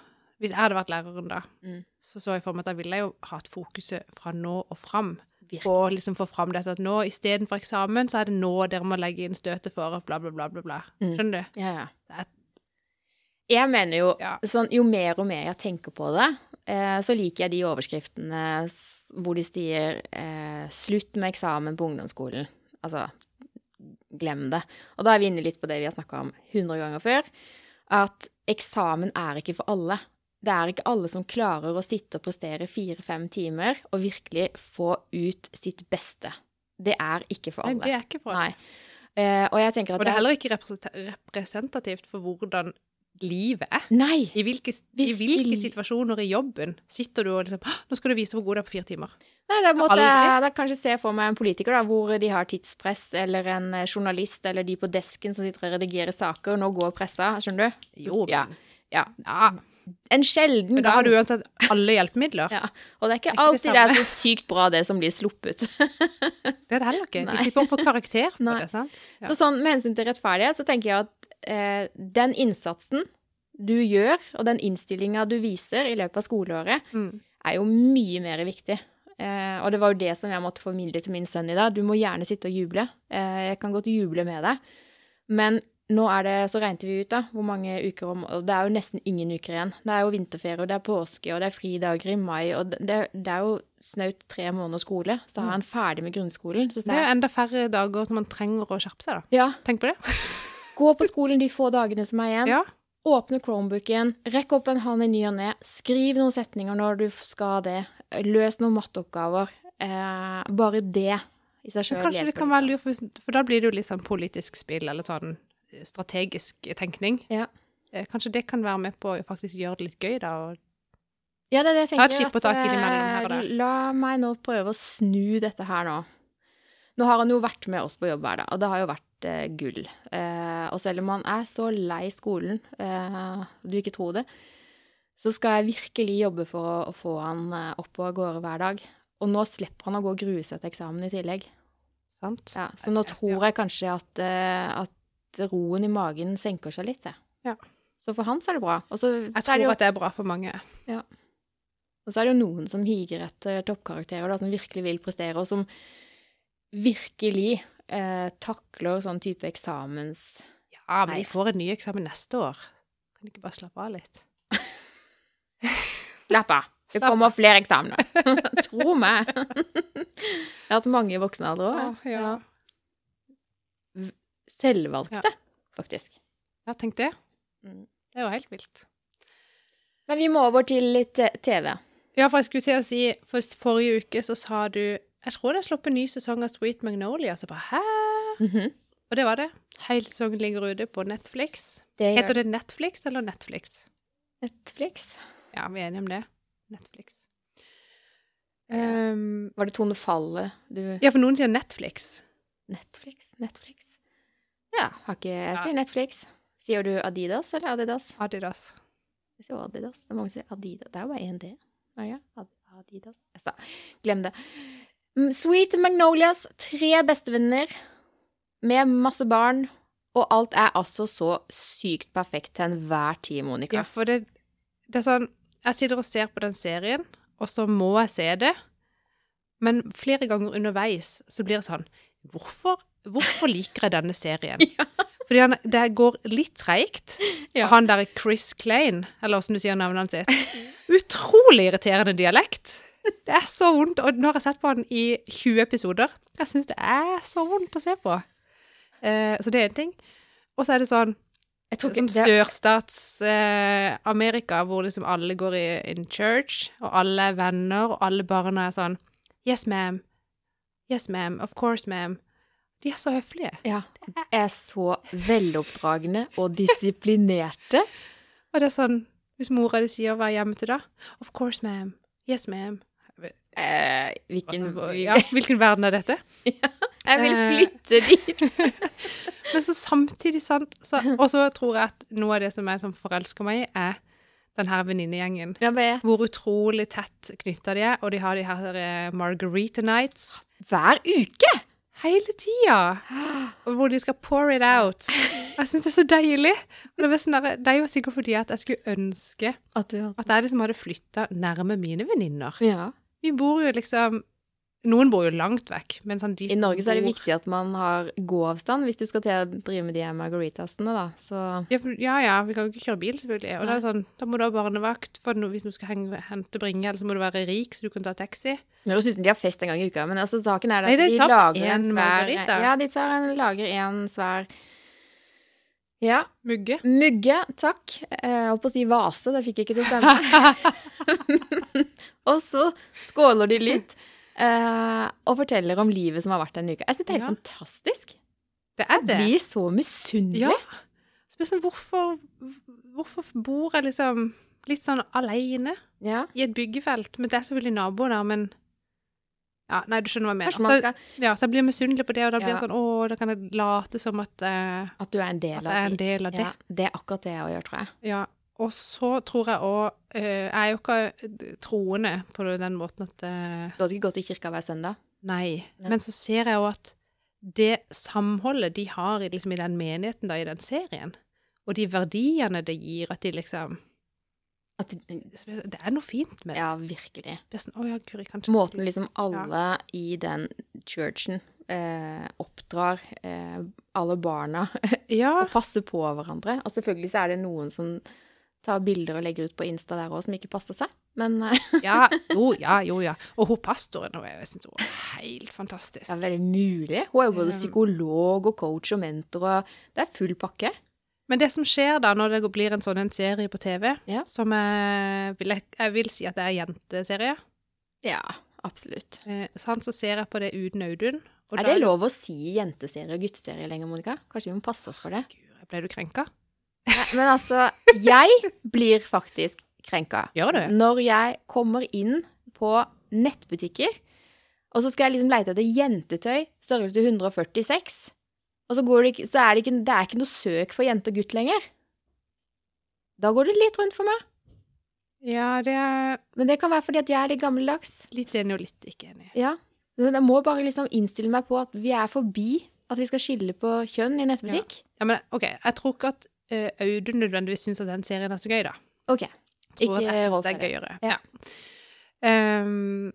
[SPEAKER 1] Hvis jeg hadde vært læreren da,
[SPEAKER 2] Mm.
[SPEAKER 1] så så jeg for meg at jeg ville jo hatt fokuset fra nå og fram.
[SPEAKER 2] Virkelig.
[SPEAKER 1] På å liksom få fram dette at nå istedenfor eksamen, så er det nå dere må legge inn støtet for bla, bla, bla, bla, bla.
[SPEAKER 2] Mm.
[SPEAKER 1] Skjønner du?
[SPEAKER 2] Ja,
[SPEAKER 1] Det er-
[SPEAKER 2] ja. Jeg mener jo
[SPEAKER 1] Ja.
[SPEAKER 2] sånn, Jo mer og mer jeg tenker på det, eh, så liker jeg de overskriftene s- hvor de sier eh, 'slutt med eksamen på ungdomsskolen'. Altså, glem det. Og da er vi inne litt på det vi har snakka om 100 ganger før. At eksamen er ikke for alle. Det er ikke alle som klarer å sitte og prestere fire-fem timer og virkelig få ut sitt beste. Det er ikke for
[SPEAKER 1] Nei,
[SPEAKER 2] alle.
[SPEAKER 1] det er ikke for
[SPEAKER 2] Nei. Eh, og jeg tenker at
[SPEAKER 1] Og det er heller ikke represent- representativt for hvordan livet er.
[SPEAKER 2] Nei!
[SPEAKER 1] I hvilke, I hvilke
[SPEAKER 2] Virkelig.
[SPEAKER 1] situasjoner i jobben sitter du og liksom «Hå, Nå skal du vise hvor god du er på fire timer.
[SPEAKER 2] Nei, det er på en måte,
[SPEAKER 1] Aldri.
[SPEAKER 2] da kanskje se for meg en politiker da, hvor de har tidspress, eller en eh, journalist, eller de på desken som sitter og redigerer saker, nå går pressa, skjønner du?
[SPEAKER 1] Jo,
[SPEAKER 2] Ja.
[SPEAKER 1] men-
[SPEAKER 2] ja.
[SPEAKER 1] ja.
[SPEAKER 2] En sjelden
[SPEAKER 1] Men da har
[SPEAKER 2] gang.
[SPEAKER 1] du uansett alle hjelpemidler.
[SPEAKER 2] Ja. Og det er ikke
[SPEAKER 1] Det er ikke det
[SPEAKER 2] alltid det er så sykt bra det som blir sluppet.
[SPEAKER 1] Det er det heller ikke.
[SPEAKER 2] Nei.
[SPEAKER 1] De slipper å få karakter for
[SPEAKER 2] Nei.
[SPEAKER 1] det, sant? Ja.
[SPEAKER 2] Så sånn, med hensyn til rettferdighet, så tenker jeg at eh, den innsatsen du gjør, og den innstillinga du viser i løpet av skoleåret,
[SPEAKER 1] Mm.
[SPEAKER 2] er jo mye mer viktig. Eh, og det var jo det som jeg måtte formidle til min sønn i dag. Du må gjerne sitte og juble. Eh, jeg kan godt juble med deg. Men nå er det, så regnet vi ut da, hvor mange uker om, og det er jo nesten ingen uker igjen. Det er jo vinterferie, og det er påske, og det er fridager i mai, og det, det er jo snaut tre måneder skole. Så da er han ferdig med grunnskolen. Så
[SPEAKER 1] Mm. Det er
[SPEAKER 2] sa jeg,
[SPEAKER 1] jo enda færre dager som man trenger å skjerpe seg, da.
[SPEAKER 2] ja,
[SPEAKER 1] Tenk på det.
[SPEAKER 2] gå på skolen de få dagene som er igjen.
[SPEAKER 1] Ja.
[SPEAKER 2] Åpne Chromebooken, rekk opp en hånd i ny og ne, skriv noen setninger når du skal det, løs noen matteoppgaver. Eh, bare det i seg liksom.
[SPEAKER 1] Men
[SPEAKER 2] sjøl
[SPEAKER 1] kanskje det kan være lurt, for, for da blir det jo litt sånn politisk spill, eller sånn strategisk tenkning.
[SPEAKER 2] Ja.
[SPEAKER 1] Eh, Kanskje det kan være med på å faktisk gjøre det litt gøy, da. Og
[SPEAKER 2] Ja, det er det jeg
[SPEAKER 1] Ta et
[SPEAKER 2] tenker.
[SPEAKER 1] skip og tak innimellom her og
[SPEAKER 2] eh,
[SPEAKER 1] der.
[SPEAKER 2] La meg nå prøve å snu dette her nå. Nå har han jo vært med oss på jobb hver dag, og det har jo vært eh, gull. Eh, og selv om han er så lei skolen, eh, du ikke tror det, så skal jeg virkelig jobbe for å, å få han eh, opp og av gårde hver dag. Og nå slipper han å gå og grue seg til eksamen i tillegg.
[SPEAKER 1] sant?
[SPEAKER 2] Ja, så nå
[SPEAKER 1] Jeg- jeg-
[SPEAKER 2] tror jeg kanskje at, eh, at roen i magen senker seg litt. jeg.
[SPEAKER 1] Ja.
[SPEAKER 2] Så for han så er det bra. Og
[SPEAKER 1] Jeg
[SPEAKER 2] så, så
[SPEAKER 1] tror
[SPEAKER 2] er det jo
[SPEAKER 1] at det er bra for mange.
[SPEAKER 2] Ja. Og så er det jo noen som higer etter toppkarakterer, da, som virkelig vil prestere, og som virkelig eh, takler sånn type eksamens
[SPEAKER 1] Ja, men
[SPEAKER 2] Nei.
[SPEAKER 1] de får en ny eksamen neste år. Kan de ikke bare slappe av litt?
[SPEAKER 2] Slapp av. Det
[SPEAKER 1] Slapp av.
[SPEAKER 2] kommer flere eksamener. Tro meg. Jeg har hatt mange i voksen alder
[SPEAKER 1] Åh,
[SPEAKER 2] òg.
[SPEAKER 1] ja.
[SPEAKER 2] Selvvalgte, faktisk.
[SPEAKER 1] ja, tenk det.
[SPEAKER 2] Mm.
[SPEAKER 1] Det er jo helt vilt.
[SPEAKER 2] Men vi må over til litt eh, TV.
[SPEAKER 1] Ja, for jeg skulle til å si, for forrige uke så sa du Jeg tror det er sluppet en ny sesong av Sweet Magnolia. Så jeg bare hæ?
[SPEAKER 2] Mhm.
[SPEAKER 1] Og det var det. Hele sesongen ligger ute på Netflix.
[SPEAKER 2] Det
[SPEAKER 1] Heter
[SPEAKER 2] gjør
[SPEAKER 1] det Netflix eller Netflix?
[SPEAKER 2] Netflix.
[SPEAKER 1] Ja, vi er enige om det. Netflix.
[SPEAKER 2] Ja.
[SPEAKER 1] Ehm,
[SPEAKER 2] Var det Tone Fallet du
[SPEAKER 1] ja, for noen sier Netflix.
[SPEAKER 2] Netflix? Netflix? Ja, har ikke Jeg sier Netflix. Sier du Adidas eller Adidas?
[SPEAKER 1] Adidas.
[SPEAKER 2] Jeg sier jo Adidas. Det er mange som sier Adidas. Det er jo bare én D. Er det ikke? Ad- Adidas. Jeg sa Glem det. Mm, Sweet Magnolias tre bestevenner med masse barn, og alt er altså så sykt perfekt til enhver tid, Monica.
[SPEAKER 1] Ja, for det, det er sånn Jeg sitter og ser på den serien, og så må jeg se det. Men flere ganger underveis så blir det sånn Hvorfor, hvorfor liker jeg denne serien? Fordi han, det går litt treigt.
[SPEAKER 2] Ja.
[SPEAKER 1] Han derre Chris Klein, eller åssen du sier navnet hans sitt Utrolig irriterende dialekt. Det er så vondt. Og nå har jeg sett på han i 20 episoder. Jeg syns det er så vondt å se på. Eh, så det er én ting. Og så er det sånn
[SPEAKER 2] Jeg tror ikke
[SPEAKER 1] Sånn
[SPEAKER 2] det,
[SPEAKER 1] Sørstats-Amerika, hvor liksom alle går i in church, og alle er venner, og alle barna er sånn Yes, ma'am. Yes, ma'am. Of course, ma'am. De er så høflige.
[SPEAKER 2] ja, er så veloppdragne og disiplinerte.
[SPEAKER 1] Og det er sånn Hvis mora di sier 'vær hjemme til', da Of course, ma'am. Yes, ma'am.
[SPEAKER 2] Eh, hvilken
[SPEAKER 1] Ja, hvilken verden er dette?
[SPEAKER 2] Jeg vil
[SPEAKER 1] Eh.
[SPEAKER 2] flytte dit!
[SPEAKER 1] Men så samtidig, sant så, Og så tror jeg at noe av det som jeg som forelsker meg i, er den her venninnegjengen.
[SPEAKER 2] Jeg vet.
[SPEAKER 1] Hvor utrolig tett knytta de er, og de har de her eh, Margarita Nights.
[SPEAKER 2] Hver uke!
[SPEAKER 1] Hele tida! Og Hvor de skal pour it out. Jeg syns det er så deilig. Og det, var sånn der, det er jo sikkert fordi at jeg skulle ønske
[SPEAKER 2] At du har
[SPEAKER 1] at jeg liksom hadde flytta nærme mine venninner.
[SPEAKER 2] Ja.
[SPEAKER 1] Vi bor jo liksom Noen bor jo langt vekk, men sånn de
[SPEAKER 2] I Norge så er det
[SPEAKER 1] bor-
[SPEAKER 2] viktig at man har gåavstand hvis du skal til å drive med de her margaritasene, da. Så
[SPEAKER 1] Ja, for- ja, ja, vi kan jo ikke kjøre bil, selvfølgelig. Og da, er det sånn, da må du ha barnevakt for no, hvis du skal henge, hente bringe, eller så må du være rik så du kan ta taxi.
[SPEAKER 2] Det høres ut som de har fest en gang i uka, men altså, saken er det
[SPEAKER 1] Nei,
[SPEAKER 2] at
[SPEAKER 1] de
[SPEAKER 2] de
[SPEAKER 1] tar
[SPEAKER 2] lager en
[SPEAKER 1] en
[SPEAKER 2] svær
[SPEAKER 1] margarita.
[SPEAKER 2] Ja, de tar en, lager en svær Ja.
[SPEAKER 1] Mugge.
[SPEAKER 2] Mugge, takk. Jeg holdt på å si vase, det fikk jeg ikke til å stemme. og så skåler de litt eh, og forteller om livet som har vært denne uka. Jeg synes det er helt
[SPEAKER 1] Ja.
[SPEAKER 2] fantastisk.
[SPEAKER 1] Det er det.
[SPEAKER 2] Blir så misunnelig.
[SPEAKER 1] Ja. Så blir det sånn, hvorfor, hvorfor bor jeg liksom litt sånn aleine?
[SPEAKER 2] Ja.
[SPEAKER 1] i et byggefelt. Men det er selvfølgelig naboer der, men ja, Nei, du skjønner hva jeg mener.
[SPEAKER 2] Kanskje man
[SPEAKER 1] Så,
[SPEAKER 2] skal
[SPEAKER 1] ja, så jeg blir misunnelig på det, og da blir
[SPEAKER 2] Ja.
[SPEAKER 1] det sånn Å, da kan jeg late som at, eh,
[SPEAKER 2] At du er en del
[SPEAKER 1] at jeg er
[SPEAKER 2] av
[SPEAKER 1] en
[SPEAKER 2] det.
[SPEAKER 1] del av det.
[SPEAKER 2] Ja, det er akkurat det jeg gjør, tror jeg.
[SPEAKER 1] Ja. Og så tror jeg òg Jeg er jo ikke eh, troende på den måten at eh,
[SPEAKER 2] Du hadde ikke gått i kirka hver søndag?
[SPEAKER 1] Nei.
[SPEAKER 2] Nei.
[SPEAKER 1] Men så ser jeg jo at det samholdet de har i, liksom, i den menigheten, da, i den serien, og de verdiene det gir, at de liksom
[SPEAKER 2] At,
[SPEAKER 1] Det er noe fint med det.
[SPEAKER 2] ja, virkelig.
[SPEAKER 1] Det er sånn, Å ja, Guri, kanskje
[SPEAKER 2] Måten liksom alle i den churchen eh, oppdrar eh, alle barna
[SPEAKER 1] Ja.
[SPEAKER 2] og passer på hverandre. Og selvfølgelig så er det noen som tar bilder og legger ut på Insta der òg, som ikke passer seg. Men eh,
[SPEAKER 1] Ja, jo, ja, jo, ja. Og hun pastoren, hun, er- jeg syns hun er helt fantastisk.
[SPEAKER 2] det er veldig mulig. Hun er jo både
[SPEAKER 1] Ja.
[SPEAKER 2] psykolog og coach og mentor, og det er full pakke.
[SPEAKER 1] Men det som skjer da, når det blir en sånn en serie på TV,
[SPEAKER 2] Ja.
[SPEAKER 1] som jeg vil, jeg vil si at det er en jenteserie,
[SPEAKER 2] Ja, absolutt.
[SPEAKER 1] eh, sant, så ser jeg på det uten Audun. og
[SPEAKER 2] Er
[SPEAKER 1] da
[SPEAKER 2] det lov å si jenteserie og gutteserie lenger, Monica? Kanskje vi må passe oss for det?
[SPEAKER 1] Gud, Ble du krenka?
[SPEAKER 2] Nei, Men altså, jeg blir faktisk krenka.
[SPEAKER 1] Gjør du?
[SPEAKER 2] Når jeg kommer inn på nettbutikker, og så skal jeg liksom leite etter jentetøy, størrelse 146, og så, går det ikke, så er det, ikke, det er ikke noe søk for jente og gutt lenger. Da går det litt rundt for meg.
[SPEAKER 1] Ja, det er
[SPEAKER 2] Men det kan være fordi at jeg er litt gammeldags.
[SPEAKER 1] litt enig og litt ikke enig.
[SPEAKER 2] Ja. Men Jeg må bare liksom innstille meg på at vi er forbi at vi skal skille på kjønn i nettbutikk.
[SPEAKER 1] Ja, men ok, jeg tror ikke at eh, Audun nødvendigvis syns at den serien er så gøy, da.
[SPEAKER 2] Ok.
[SPEAKER 1] tror at jeg
[SPEAKER 2] Ikke
[SPEAKER 1] synes
[SPEAKER 2] Rolf
[SPEAKER 1] det er
[SPEAKER 2] Eide.
[SPEAKER 1] gøyere.
[SPEAKER 2] Ja.
[SPEAKER 1] Ja. Ehm,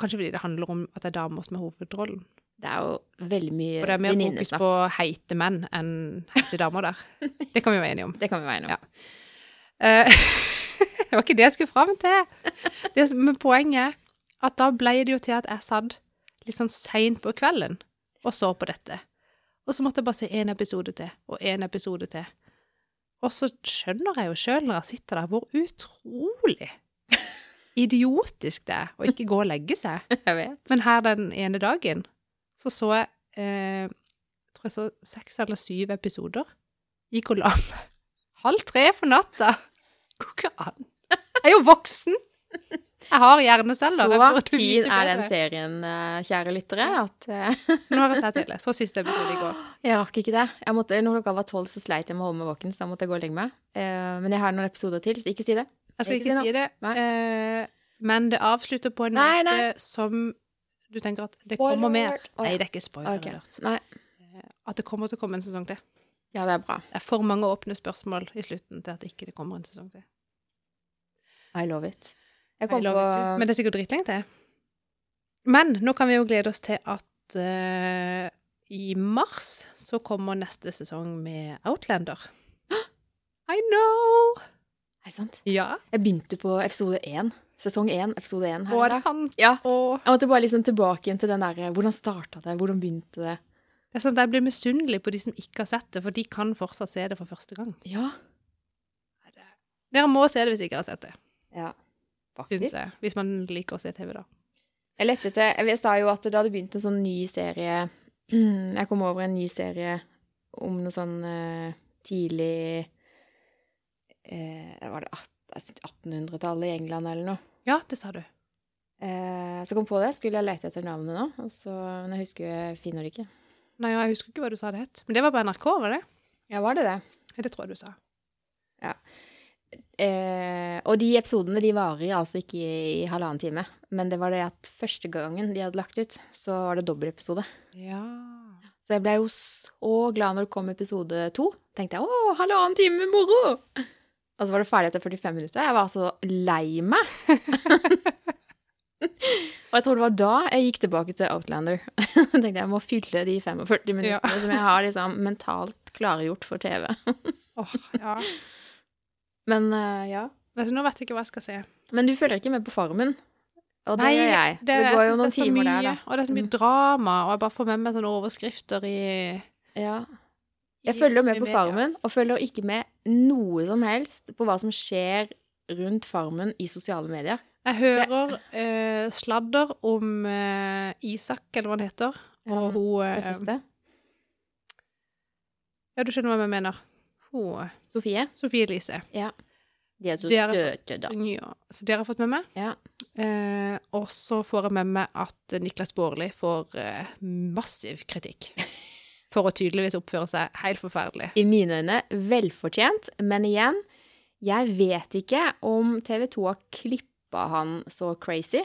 [SPEAKER 1] Kanskje fordi det handler om at det er damer som er hovedrollen.
[SPEAKER 2] Det er jo veldig mye
[SPEAKER 1] Og det er mer fokus
[SPEAKER 2] venninnesnakk.
[SPEAKER 1] på heite menn enn heite damer der. Det kan vi være enige om.
[SPEAKER 2] Det kan vi være enige om.
[SPEAKER 1] Eh, det var ikke det jeg skulle fram til. Det som er poenget, at da ble det jo til at jeg satt litt sånn seint på kvelden og så på dette. Og så måtte jeg bare se én episode til, og én episode til. Og så skjønner jeg jo sjøl når jeg sitter der, hvor utrolig idiotisk det er å ikke gå og legge seg.
[SPEAKER 2] Jeg vet.
[SPEAKER 1] Men her den ene dagen så så jeg eh, tror jeg så seks eller syv episoder. Gikk og la meg halv tre på natta. Går ikke an. Jeg er jo voksen. Jeg har hjerne selv. da. Jeg
[SPEAKER 2] Så
[SPEAKER 1] burde vite
[SPEAKER 2] fin er den
[SPEAKER 1] bedre.
[SPEAKER 2] serien, eh, kjære lyttere, at eh,
[SPEAKER 1] Så nå har jeg sett hele. Så siste episode i går.
[SPEAKER 2] Jeg rakk ikke det. Jeg måtte, når klokka var tolv, så sleit jeg med å holde meg våken, så da måtte jeg gå og legge meg. Eh, men jeg har noen episoder til, så ikke si det.
[SPEAKER 1] Altså, Jeg skal
[SPEAKER 2] Ikke
[SPEAKER 1] ikke
[SPEAKER 2] si
[SPEAKER 1] si det,
[SPEAKER 2] Nei.
[SPEAKER 1] eh, men det avslutter på en
[SPEAKER 2] Nei,
[SPEAKER 1] måte
[SPEAKER 2] nei.
[SPEAKER 1] som du tenker at det
[SPEAKER 2] Spoiler
[SPEAKER 1] kommer mer.
[SPEAKER 2] alert. Å, ja.
[SPEAKER 1] Nei, det er ikke spoiler.
[SPEAKER 2] Ok.
[SPEAKER 1] alert. Eh,
[SPEAKER 2] Nei.
[SPEAKER 1] At det kommer til å komme en sesong til.
[SPEAKER 2] Ja, det er bra.
[SPEAKER 1] Det er for mange åpne spørsmål i slutten til at det ikke kommer en sesong til.
[SPEAKER 2] I love it. Jeg
[SPEAKER 1] I
[SPEAKER 2] kom
[SPEAKER 1] love
[SPEAKER 2] på
[SPEAKER 1] it too. Men det er sikkert dritlenge til. Men nå kan vi jo glede oss til at eh, i mars så kommer neste sesong med Outlander. I know!
[SPEAKER 2] Er det sant?
[SPEAKER 1] Ja.
[SPEAKER 2] Jeg begynte på episode én. Sesong én, episode én her.
[SPEAKER 1] Og er
[SPEAKER 2] i
[SPEAKER 1] det
[SPEAKER 2] dag.
[SPEAKER 1] sant?
[SPEAKER 2] Ja.
[SPEAKER 1] Og
[SPEAKER 2] Jeg måtte bare liksom tilbake igjen til den derre Hvordan starta det? Hvordan begynte det?
[SPEAKER 1] det er sånn at jeg blir misunnelig på de som ikke har sett det, for de kan fortsatt se det for første gang.
[SPEAKER 2] Ja.
[SPEAKER 1] Dere må se det hvis ikke har sett det,
[SPEAKER 2] ja. Faktisk.
[SPEAKER 1] syns jeg. Hvis man liker å se TV, da.
[SPEAKER 2] Jeg lette etter Jeg sa jo at det hadde begynt en sånn ny serie Jeg kom over en ny serie om noe sånn eh, tidlig eh, Var det at- 1800-tallet i England eller noe?
[SPEAKER 1] Ja, det sa du.
[SPEAKER 2] Eh, så kom på det. Skulle jeg lete etter navnet nå? Og så, men jeg husker jo jeg finner det ikke.
[SPEAKER 1] Nei, jeg husker ikke hva du sa det het. Men det var på NRK, var det?
[SPEAKER 2] Ja, var det det?
[SPEAKER 1] Ja, Det tror jeg du sa.
[SPEAKER 2] Eh, og de episodene de varer altså ikke i, i halvannen time. Men det var det at første gangen de hadde lagt ut, så var det dobbeltepisode.
[SPEAKER 1] Ja.
[SPEAKER 2] Så jeg ble jo så glad når det kom episode to. Tenkte jeg å, halvannen time med moro! Og så var det ferdig etter 45 minutter. Jeg var så lei meg. og jeg tror det var da jeg gikk tilbake til Outlander. tenkte jeg må fylle de 45 minuttene
[SPEAKER 1] Ja.
[SPEAKER 2] som jeg har liksom mentalt klargjort for TV.
[SPEAKER 1] Åh, ja.
[SPEAKER 2] Men eh, ja.
[SPEAKER 1] Altså, nå vet jeg ikke hva jeg skal se.
[SPEAKER 2] Men du følger ikke med på Farmen. Og det
[SPEAKER 1] Nei,
[SPEAKER 2] gjør jeg. Det,
[SPEAKER 1] jeg
[SPEAKER 2] går jo
[SPEAKER 1] synes
[SPEAKER 2] noen
[SPEAKER 1] det er så
[SPEAKER 2] timer
[SPEAKER 1] mye,
[SPEAKER 2] der, da.
[SPEAKER 1] Og det er så mye
[SPEAKER 2] Mm.
[SPEAKER 1] drama, og jeg bare får med meg sånne overskrifter i,
[SPEAKER 2] Ja.
[SPEAKER 1] i
[SPEAKER 2] Jeg følger jo med
[SPEAKER 1] i
[SPEAKER 2] på
[SPEAKER 1] media.
[SPEAKER 2] Farmen, og følger ikke med noe som helst på hva som skjer rundt Farmen i sosiale medier.
[SPEAKER 1] Jeg hører eh, sladder om eh, Isak, eller hva han heter, og
[SPEAKER 2] Ja,
[SPEAKER 1] hun
[SPEAKER 2] Det
[SPEAKER 1] eh,
[SPEAKER 2] første.
[SPEAKER 1] Ja, du skjønner hva jeg mener. Hun eh,
[SPEAKER 2] Sofie.
[SPEAKER 1] Sofie Elise.
[SPEAKER 2] De er så
[SPEAKER 1] De er-
[SPEAKER 2] søte, da.
[SPEAKER 1] Ja, så dere har fått med meg.
[SPEAKER 2] Ja.
[SPEAKER 1] Eh, og så får jeg med meg at Niklas Baarli får eh, massiv kritikk for å tydeligvis oppføre seg helt forferdelig.
[SPEAKER 2] I mine øyne velfortjent, men igjen, jeg vet ikke om TV 2 har klippa han så crazy,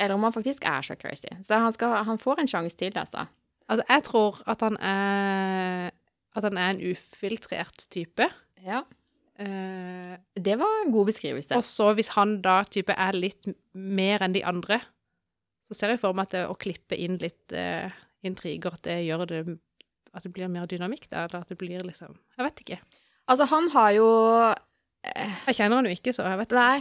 [SPEAKER 2] eller om han faktisk er så crazy. Så han, skal, han får en sjanse til, altså.
[SPEAKER 1] Altså, jeg tror at han er At han er en ufiltrert type.
[SPEAKER 2] Ja.
[SPEAKER 1] Eh,
[SPEAKER 2] Det var en god beskrivelse.
[SPEAKER 1] og så hvis han da type er litt m- mer enn de andre, så ser jeg for meg at det, å klippe inn litt eh, intriger, at det gjør det At det blir mer dynamikk da, eller at det blir liksom Jeg vet ikke.
[SPEAKER 2] Altså, han har jo
[SPEAKER 1] Jeg kjenner han jo ikke, så jeg vet
[SPEAKER 2] Nei.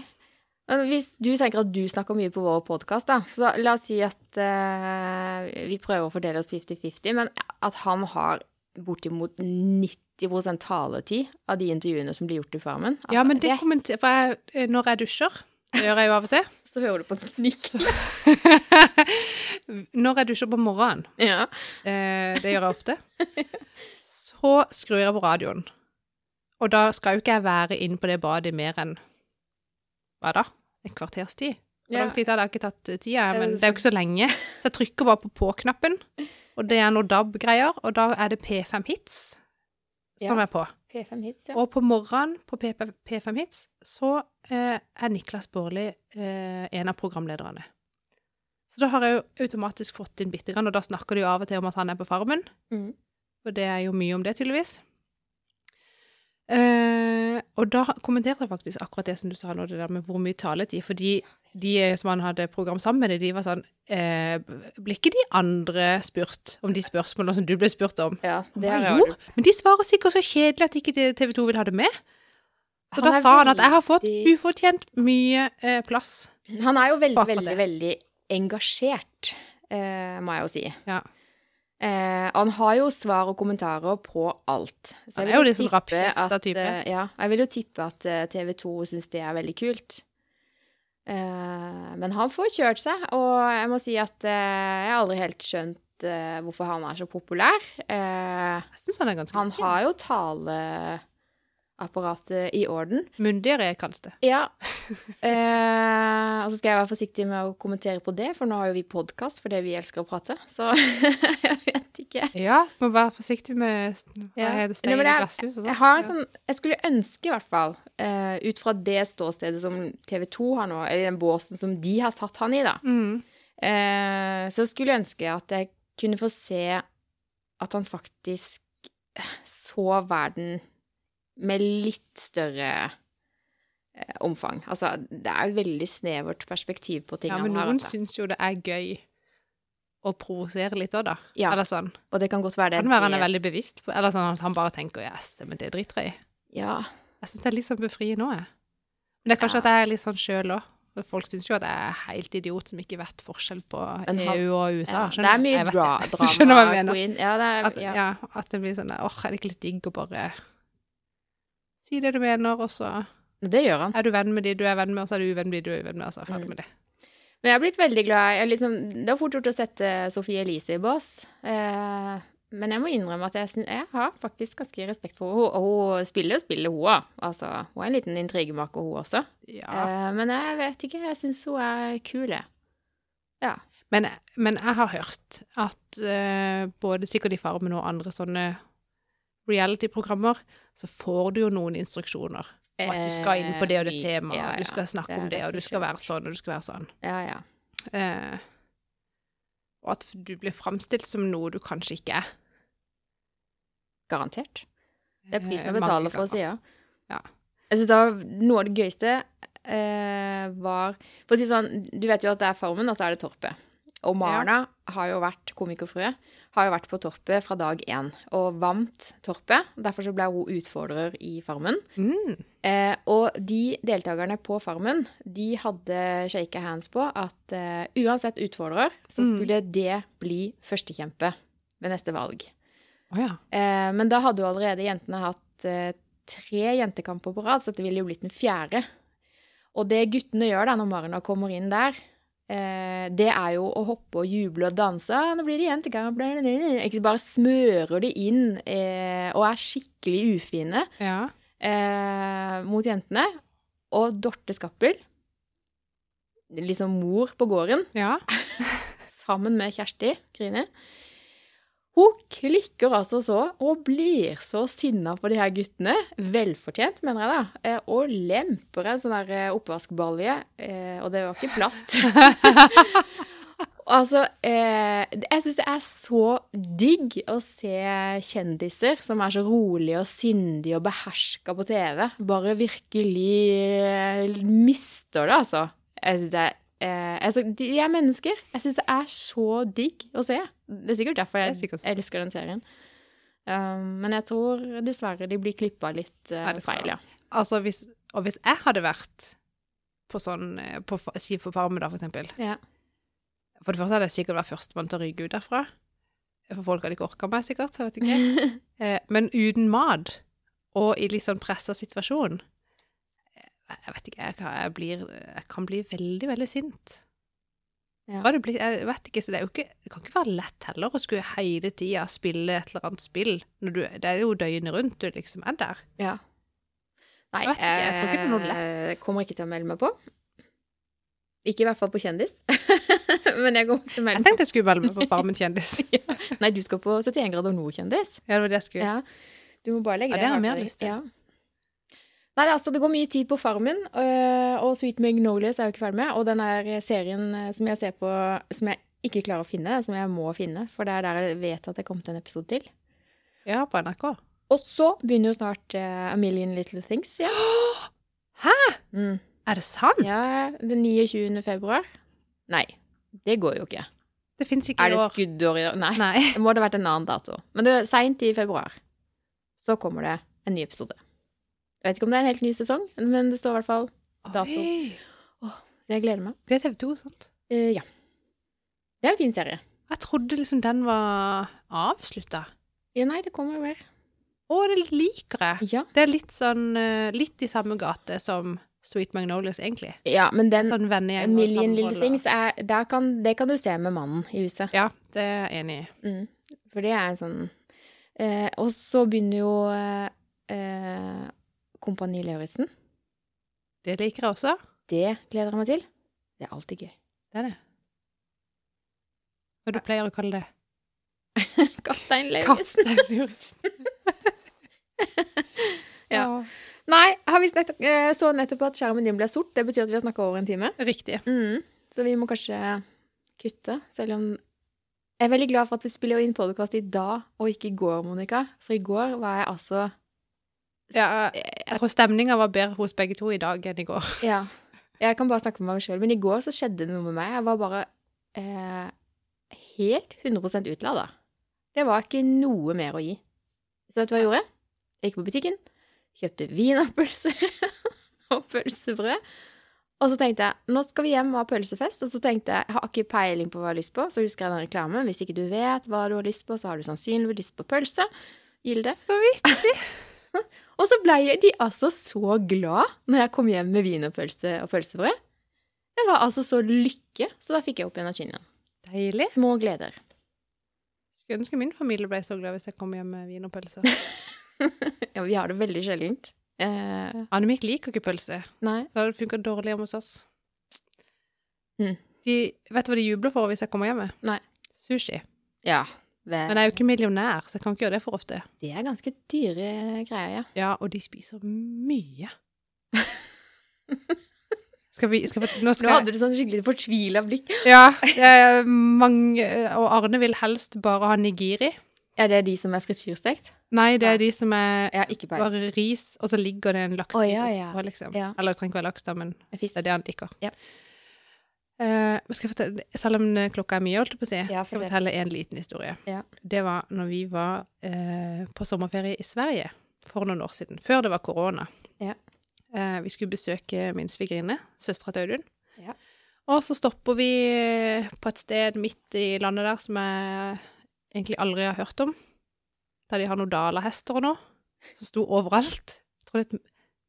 [SPEAKER 2] Men hvis du tenker at du snakker mye på vår podkast, da, så la oss si at eh, vi prøver å fordele oss 50-50, men at han har bortimot 90 taletid av de intervjuene som blir gjort i Farmen. At
[SPEAKER 1] Ja, men det
[SPEAKER 2] jeg-
[SPEAKER 1] kommenter... For jeg, eh, når jeg dusjer, det gjør jeg jo av og til
[SPEAKER 2] Så hører du på snikk.
[SPEAKER 1] så- Når jeg dusjer på morgenen,
[SPEAKER 2] Ja.
[SPEAKER 1] Eh, det gjør jeg ofte. Så skrur jeg på radioen. Og da skal jo ikke jeg være inne på det badet i mer enn hva da? Et kvarters tid? Hvor lang tid har det? Jeg har ikke tatt eh, tida,
[SPEAKER 2] Ja,
[SPEAKER 1] men
[SPEAKER 2] det
[SPEAKER 1] det er jo ikke så lenge. Så jeg trykker bare på på-knappen, og det er noe DAB-greier, og da er det P5 Hits som
[SPEAKER 2] Ja.
[SPEAKER 1] er på.
[SPEAKER 2] P5 hits, ja.
[SPEAKER 1] Og på morgenen på P5 P5 Hits så eh, er Niklas Baarli eh, en av programlederne. Så da har jeg jo automatisk fått inn bitte grann, og da snakker de jo av og til om at han er på Farmen.
[SPEAKER 2] Mm.
[SPEAKER 1] For det er jo mye om det, tydeligvis. Eh, og da kommenterte jeg faktisk akkurat det som du sa nå, det der med hvor mye taletid. Fordi de som han hadde program sammen med, de var sånn eh, Blir ikke de andre spurt om de spørsmålene som du ble spurt om?
[SPEAKER 2] Ja, det
[SPEAKER 1] Hva,
[SPEAKER 2] har jeg
[SPEAKER 1] jo, men de svarer sikkert så kjedelig at ikke TV 2 vil ha det med. Så da sa han at jeg har fått ufortjent mye eh, plass.
[SPEAKER 2] Han er jo veldig,
[SPEAKER 1] Bak på
[SPEAKER 2] veldig, veldig engasjert, eh, må jeg jo si.
[SPEAKER 1] Ja.
[SPEAKER 2] Eh, han har jo svar og kommentarer på alt. Så
[SPEAKER 1] Han
[SPEAKER 2] jeg
[SPEAKER 1] er jo
[SPEAKER 2] vil
[SPEAKER 1] litt sånn
[SPEAKER 2] tippe
[SPEAKER 1] rapphefta
[SPEAKER 2] at,
[SPEAKER 1] type.
[SPEAKER 2] eh, Ja, jeg vil jo tippe at eh, TV 2 syns det er veldig kult. Eh, men han får kjørt seg, og jeg må si at eh, jeg har aldri helt skjønt eh, hvorfor han er så populær. Eh,
[SPEAKER 1] Jeg syns han er ganske
[SPEAKER 2] han har jo taleapparatet i orden.
[SPEAKER 1] Mundigere, kalles det.
[SPEAKER 2] Ja. Eh, og så skal jeg være forsiktig med å kommentere på det, for nå har jo vi podkast fordi vi elsker å prate. Så jeg vet ikke.
[SPEAKER 1] Ja, må være forsiktig med hva
[SPEAKER 2] Ja.
[SPEAKER 1] er det,
[SPEAKER 2] Nei,
[SPEAKER 1] stein
[SPEAKER 2] men
[SPEAKER 1] og
[SPEAKER 2] det er-
[SPEAKER 1] glasshus og sånn.
[SPEAKER 2] Jeg har en
[SPEAKER 1] Ja.
[SPEAKER 2] sånn Jeg skulle ønske, i hvert fall, eh, ut fra det ståstedet som TV 2 har nå, eller den båsen som de har satt han i, da,
[SPEAKER 1] Mm.
[SPEAKER 2] eh, så skulle jeg ønske at jeg kunne få se at han faktisk så verden med litt større eh, omfang. Altså, det er et veldig snevert perspektiv på ting
[SPEAKER 1] Ja,
[SPEAKER 2] han
[SPEAKER 1] men
[SPEAKER 2] har.
[SPEAKER 1] noen
[SPEAKER 2] altså.
[SPEAKER 1] syns jo det er gøy å provosere litt òg, da.
[SPEAKER 2] Ja.
[SPEAKER 1] Eller sånn.
[SPEAKER 2] Og det kan godt være det.
[SPEAKER 1] Kan være han er veldig bevisst på Eller sånn at han bare tenker yes, men det driter jeg i.
[SPEAKER 2] Ja.
[SPEAKER 1] Jeg syns det er litt sånn befriende òg, jeg. Men det er kanskje
[SPEAKER 2] Ja.
[SPEAKER 1] at jeg er litt sånn sjøl òg. Folk syns jo at jeg er helt idiot som ikke vet forskjell på
[SPEAKER 2] Men han-
[SPEAKER 1] EU og USA.
[SPEAKER 2] ja. Det
[SPEAKER 1] skjønner
[SPEAKER 2] er
[SPEAKER 1] du?
[SPEAKER 2] mye
[SPEAKER 1] Jeg vet
[SPEAKER 2] dra
[SPEAKER 1] det.
[SPEAKER 2] drama.
[SPEAKER 1] Skjønner du hva jeg mener?
[SPEAKER 2] queen. Ja, det er,
[SPEAKER 1] At,
[SPEAKER 2] ja.
[SPEAKER 1] ja, at det blir sånn der, åh, er det ikke litt digg å bare si det du mener, og så
[SPEAKER 2] Det gjør han.
[SPEAKER 1] er du venn med de du er venn med, og så er du uvenn med de du er uvenn med, og så er jeg ferdig
[SPEAKER 2] Mm.
[SPEAKER 1] med det.
[SPEAKER 2] Men jeg har blitt veldig glad jeg, har liksom, Det er fort gjort å sette Sophie Elise i bås. Eh, men jeg må innrømme at jeg, syn- jeg har faktisk ganske respekt for henne. Og hun spiller jo spillet, hun òg. Altså, hun er en liten intrigemaker, hun også.
[SPEAKER 1] Ja.
[SPEAKER 2] Eh, men jeg vet ikke. Jeg syns hun er kul, jeg.
[SPEAKER 1] Men, men jeg har hørt at eh, både sikkert i Farmen og andre sånne reality-programmer, så får du jo noen instruksjoner. om At du skal inn på det og det
[SPEAKER 2] Eh,
[SPEAKER 1] temaet,
[SPEAKER 2] ja,
[SPEAKER 1] og du skal
[SPEAKER 2] ja.
[SPEAKER 1] snakke
[SPEAKER 2] Det
[SPEAKER 1] om
[SPEAKER 2] er
[SPEAKER 1] det, og du skal være
[SPEAKER 2] regissert.
[SPEAKER 1] sånn, og du skal være sånn.
[SPEAKER 2] Ja, ja.
[SPEAKER 1] Eh, og at du blir framstilt som noe du kanskje ikke er.
[SPEAKER 2] Garantert. Det er prisen
[SPEAKER 1] eh,
[SPEAKER 2] å betale
[SPEAKER 1] mange
[SPEAKER 2] for å si
[SPEAKER 1] ganger.
[SPEAKER 2] ja.
[SPEAKER 1] Ja.
[SPEAKER 2] Jeg synes det var noe av det gøyeste eh, var For å si sånn, du vet jo at det er Farmen, og så er det Torpet. Og Marna har jo vært komikerfrue. Har jo vært på Torpet fra dag én og vant Torpet. Derfor så ble hun utfordrer i Farmen.
[SPEAKER 1] Mm.
[SPEAKER 2] Eh, og de deltakerne på Farmen, de hadde shake hands på at eh, uansett utfordrer, så
[SPEAKER 1] Mm.
[SPEAKER 2] skulle det bli førstekjempe ved neste valg.
[SPEAKER 1] Å ja.
[SPEAKER 2] Eh, men da hadde jo allerede jentene hatt eh, tre jentekamper på rad, så dette ville jo blitt den fjerde. Og det guttene gjør da når Marna kommer inn der, eh, det er jo å hoppe og juble og danse. «Ah, Nå blir det jentekamp. bla, bla, bla». Ikke bare smører de inn eh, og er skikkelig ufine
[SPEAKER 1] ja.
[SPEAKER 2] eh, mot jentene. Og Dorte Skappel, liksom mor på gården,
[SPEAKER 1] Ja.
[SPEAKER 2] sammen med Kjersti Grini. Hun klikker altså så og blir så sinna på de her guttene. Velfortjent, mener jeg da. eh, Og lemper en sånn der eh, oppvaskbalje, eh, og det var ikke plast. altså, eh, jeg syns det er så digg å se kjendiser som er så rolige og sindige og beherska på TV. Bare virkelig eh, mister det, altså. Jeg syns det er Eh, altså, de er mennesker. Jeg syns det er så digg å se. Det er sikkert derfor
[SPEAKER 1] Det
[SPEAKER 2] jeg
[SPEAKER 1] er sikkert sånn.
[SPEAKER 2] elsker den serien. Um, men jeg tror dessverre de blir klippa litt eh,
[SPEAKER 1] Ja, det skal
[SPEAKER 2] feil, ja.
[SPEAKER 1] Altså, hvis, og hvis jeg hadde vært på sånn, eh, på, fa- si for Farmen da, for eksempel.
[SPEAKER 2] Ja.
[SPEAKER 1] For det første hadde jeg sikkert vært førstemann til å rygge ut derfra. For folk hadde ikke orket meg, sikkert, så jeg vet ikke. Eh, Men uten mat, og i litt sånn presset situasjon, eh, jeg vet ikke, jeg kan, jeg blir, jeg kan bli veldig, veldig sint.
[SPEAKER 2] Ja.
[SPEAKER 1] Hva det blir, jeg vet ikke, så det er jo ikke, det kan ikke være lett heller å skulle hele tiden spille et eller annet spill. Når du, det er jo døgnet rundt du liksom er der.
[SPEAKER 2] ja. Nei,
[SPEAKER 1] Jeg vet ikke, jeg tror ikke det er noe lett.
[SPEAKER 2] eh, kommer ikke til å melde meg på. Ikke i hvert fall på Kjendis. men jeg kommer til å
[SPEAKER 1] Jeg
[SPEAKER 2] melde meg
[SPEAKER 1] tenkte jeg skulle melde meg på Farmen kjendis.
[SPEAKER 2] Nei, du skal på 71 grader nord-kjendis.
[SPEAKER 1] Ja, det var det jeg skulle.
[SPEAKER 2] Ja. Du må bare legge
[SPEAKER 1] Ja, det har jeg
[SPEAKER 2] her
[SPEAKER 1] mer
[SPEAKER 2] for deg.
[SPEAKER 1] lyst til.
[SPEAKER 2] Ja. Nei, det, er altså, det går mye tid på Farmen, øh, og Sweet Magnolias er jeg jo ikke ferdig med. Og den er serien øh, som jeg ser på som jeg ikke klarer å finne, som jeg må finne, for det er der jeg vet at det kom til en episode til.
[SPEAKER 1] Ja, på NRK.
[SPEAKER 2] eh, Og så begynner jo snart øh, A Million Little Things igjen.
[SPEAKER 1] Hæ?
[SPEAKER 2] Mm.
[SPEAKER 1] Er det sant?
[SPEAKER 2] Ja, den 29. februar? Nei, det går jo ikke.
[SPEAKER 1] Det fins ikke
[SPEAKER 2] Er
[SPEAKER 1] i
[SPEAKER 2] det
[SPEAKER 1] år.
[SPEAKER 2] skuddår i år? Nei.
[SPEAKER 1] Nei.
[SPEAKER 2] Det må det ha vært en annen dato. Men det er seint i februar så kommer det en ny episode. Jeg vet ikke om det er en helt ny sesong, men det står i hvert fall Dato.
[SPEAKER 1] Oi.
[SPEAKER 2] Jeg gleder meg.
[SPEAKER 1] Det er TV 2, sant?
[SPEAKER 2] Eh, ja. Det er en fin serie.
[SPEAKER 1] Jeg trodde liksom den var avslutta.
[SPEAKER 2] Ja, nei, det kommer jo mer.
[SPEAKER 1] Å, det liker jeg.
[SPEAKER 2] Ja.
[SPEAKER 1] Det er litt sånn eh, Litt i samme gate som Sweet Magnolias, egentlig.
[SPEAKER 2] ja, men den
[SPEAKER 1] Sånn vennegjeng.
[SPEAKER 2] A
[SPEAKER 1] og
[SPEAKER 2] Million
[SPEAKER 1] samhold
[SPEAKER 2] Little
[SPEAKER 1] og-
[SPEAKER 2] Things, er, der kan, det kan du se med mannen i huset.
[SPEAKER 1] Ja, det er jeg enig i.
[SPEAKER 2] Mm. For det er en sånn eh, Og så begynner jo eh, eh, Kompani Lauritzen.
[SPEAKER 1] Det liker jeg også.
[SPEAKER 2] Det gleder jeg meg til. Det er alltid gøy.
[SPEAKER 1] Det er det. Hva du pleier å kalle det?
[SPEAKER 2] Kaptein
[SPEAKER 1] Kattelivet.
[SPEAKER 2] Ja. Nei, har vi nettopp, eh, så nettopp at skjermen din ble sort. Det betyr at vi har snakka over en time.
[SPEAKER 1] Riktig.
[SPEAKER 2] Mm. Så vi må kanskje kutte, selv om Jeg er veldig glad for at vi spiller inn podkast i dag og ikke i går, Monica. For i går var jeg altså
[SPEAKER 1] Ja, jeg tror stemninga var bedre hos begge to i dag enn i går.
[SPEAKER 2] Ja. Jeg kan bare snakke for meg sjøl, men i går så skjedde det noe med meg. Jeg var bare eh, helt 100 utlada. Det var ikke noe mer å gi. Så vet du hva jeg gjorde? Jeg gikk på butikken, kjøpte wienerpølser og pølsebrød. Og så tenkte jeg nå skal vi hjem og ha pølsefest. Og så tenkte jeg jeg har ikke peiling på hva jeg har lyst på. Så husker jeg den reklamen. Hvis ikke du vet hva du har lyst på, så har du sannsynligvis lyst på pølse. Gilde.
[SPEAKER 1] Så vidt.
[SPEAKER 2] Og så ble de altså så glad når jeg kom hjem med wienerpølse og pølsebrød. Jeg var altså så lykke, så da fikk jeg opp energien igjen.
[SPEAKER 1] Deilig.
[SPEAKER 2] Små gleder.
[SPEAKER 1] Skulle ønske min familie ble så glad hvis jeg kom hjem med vin og pølser.
[SPEAKER 2] Ja, vi har det veldig sjeldent. Eh,
[SPEAKER 1] Annemik liker ikke pølse,
[SPEAKER 2] nei.
[SPEAKER 1] så det hadde funka dårlig hjemme hos oss. Hmm.
[SPEAKER 2] Mm.
[SPEAKER 1] De, vet du hva de jubler for hvis jeg kommer hjem med?
[SPEAKER 2] Nei.
[SPEAKER 1] Sushi.
[SPEAKER 2] Ja.
[SPEAKER 1] Men jeg
[SPEAKER 2] Vel,
[SPEAKER 1] er jo ikke millionær, så jeg kan ikke gjøre det for ofte.
[SPEAKER 2] det er ganske dyre greier, ja.
[SPEAKER 1] Ja, og de spiser mye. Skal vi skal, vi- Nå skal
[SPEAKER 2] Nå hadde du sånn skikkelig fortvila blikk.
[SPEAKER 1] Ja. Det er mange Og Arne vil helst bare ha nigiri.
[SPEAKER 2] Er det de som er frityrstekt?
[SPEAKER 1] Nei, det er
[SPEAKER 2] Ja.
[SPEAKER 1] de som er
[SPEAKER 2] Jeg har ikke peiling.
[SPEAKER 1] bare ris, og så ligger det en laks
[SPEAKER 2] Å, ja, ja.
[SPEAKER 1] på, liksom.
[SPEAKER 2] Ja.
[SPEAKER 1] Eller det trenger ikke være laks, da, men det
[SPEAKER 2] Fisk.
[SPEAKER 1] er det han liker.
[SPEAKER 2] Ja.
[SPEAKER 1] Eh, men skal jeg fortelle, selv om klokka er mye, holdt jeg på å si,
[SPEAKER 2] Ja,
[SPEAKER 1] skal jeg
[SPEAKER 2] fortell.
[SPEAKER 1] fortelle en liten historie.
[SPEAKER 2] Ja.
[SPEAKER 1] Det var når vi var eh, på sommerferie i Sverige for noen år siden, før det var korona.
[SPEAKER 2] Ja.
[SPEAKER 1] Eh, vi skulle besøke min svigerinne, søstera til Audun.
[SPEAKER 2] Ja.
[SPEAKER 1] Og så stopper vi eh, på et sted midt i landet der som jeg egentlig aldri har hørt om. Der de har noen dalahester og noe, som sto overalt. Jeg tror det het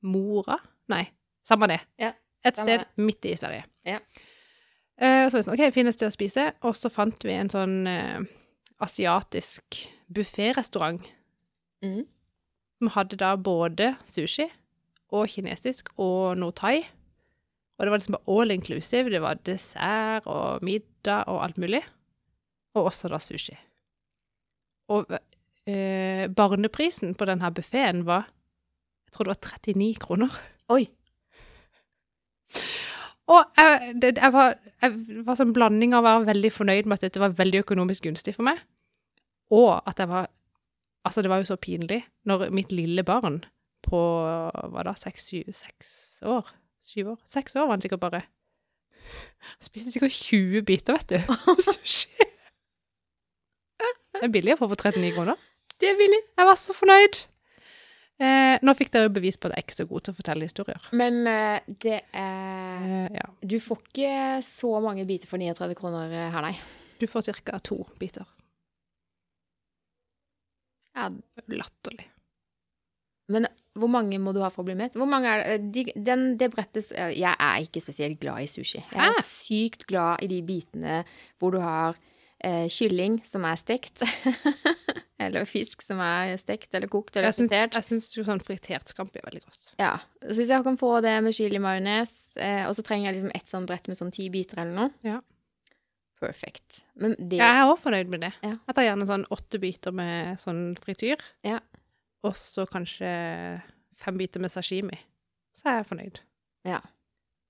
[SPEAKER 1] Mora? Nei, samme det.
[SPEAKER 2] Ja,
[SPEAKER 1] Et
[SPEAKER 2] samme
[SPEAKER 1] sted midt i Sverige.
[SPEAKER 2] Ja.
[SPEAKER 1] Eh, så var vi sånn, ok, finnes det å spise? Og så fant vi en sånn eh, asiatisk bufférestaurant
[SPEAKER 2] Mm.
[SPEAKER 1] som hadde da både sushi og kinesisk og noe thai. Og det var liksom bare all inclusive. Det var dessert og middag og alt mulig. Og også da sushi. Og eh, barneprisen på denne buffeen var Jeg tror det var 39 kroner.
[SPEAKER 2] Oi.
[SPEAKER 1] Og jeg, det, jeg, var, jeg var sånn blanding av å være veldig fornøyd med at dette var veldig økonomisk gunstig for meg, og at jeg var Altså, det var jo så pinlig når mitt lille barn på hva da, seks, syv, seks år? Syv år? Seks år var han sikkert bare. Han spiste sikkert 20 biter, vet du. Sushi. Det er billigere for for 39 kroner.
[SPEAKER 2] Det er billig.
[SPEAKER 1] Jeg var så fornøyd. Eh, nå fikk dere bevis på at jeg er ikke så god til å fortelle historier.
[SPEAKER 2] Men eh, det er
[SPEAKER 1] Eh, ja.
[SPEAKER 2] Du får ikke så mange biter for 39 kroner eh, her, nei.
[SPEAKER 1] Du får ca. to biter.
[SPEAKER 2] Ja,
[SPEAKER 1] Latterlig.
[SPEAKER 2] Men hvor mange må du ha for å bli mett? Hvor mange er det? Eh, De, den, det brettes Jeg er ikke spesielt glad i sushi. Jeg
[SPEAKER 1] Hæ?
[SPEAKER 2] er sykt glad i de bitene hvor du har eh, kylling som er stekt. eller fisk som er stekt eller kokt eller
[SPEAKER 1] Jeg syns,
[SPEAKER 2] fritert.
[SPEAKER 1] jeg syns jo sånn fritert scampi er veldig godt.
[SPEAKER 2] Ja. Så hvis jeg kan få det med chili majones, eh, og så trenger jeg liksom ett sånn brett med sånn ti biter eller noe
[SPEAKER 1] Ja.
[SPEAKER 2] Perfect. Men det
[SPEAKER 1] Jeg er òg fornøyd med det.
[SPEAKER 2] Ja.
[SPEAKER 1] Jeg tar gjerne sånn åtte biter med sånn frityr.
[SPEAKER 2] Ja.
[SPEAKER 1] Og så kanskje fem biter med sashimi. Så er jeg fornøyd.
[SPEAKER 2] Ja.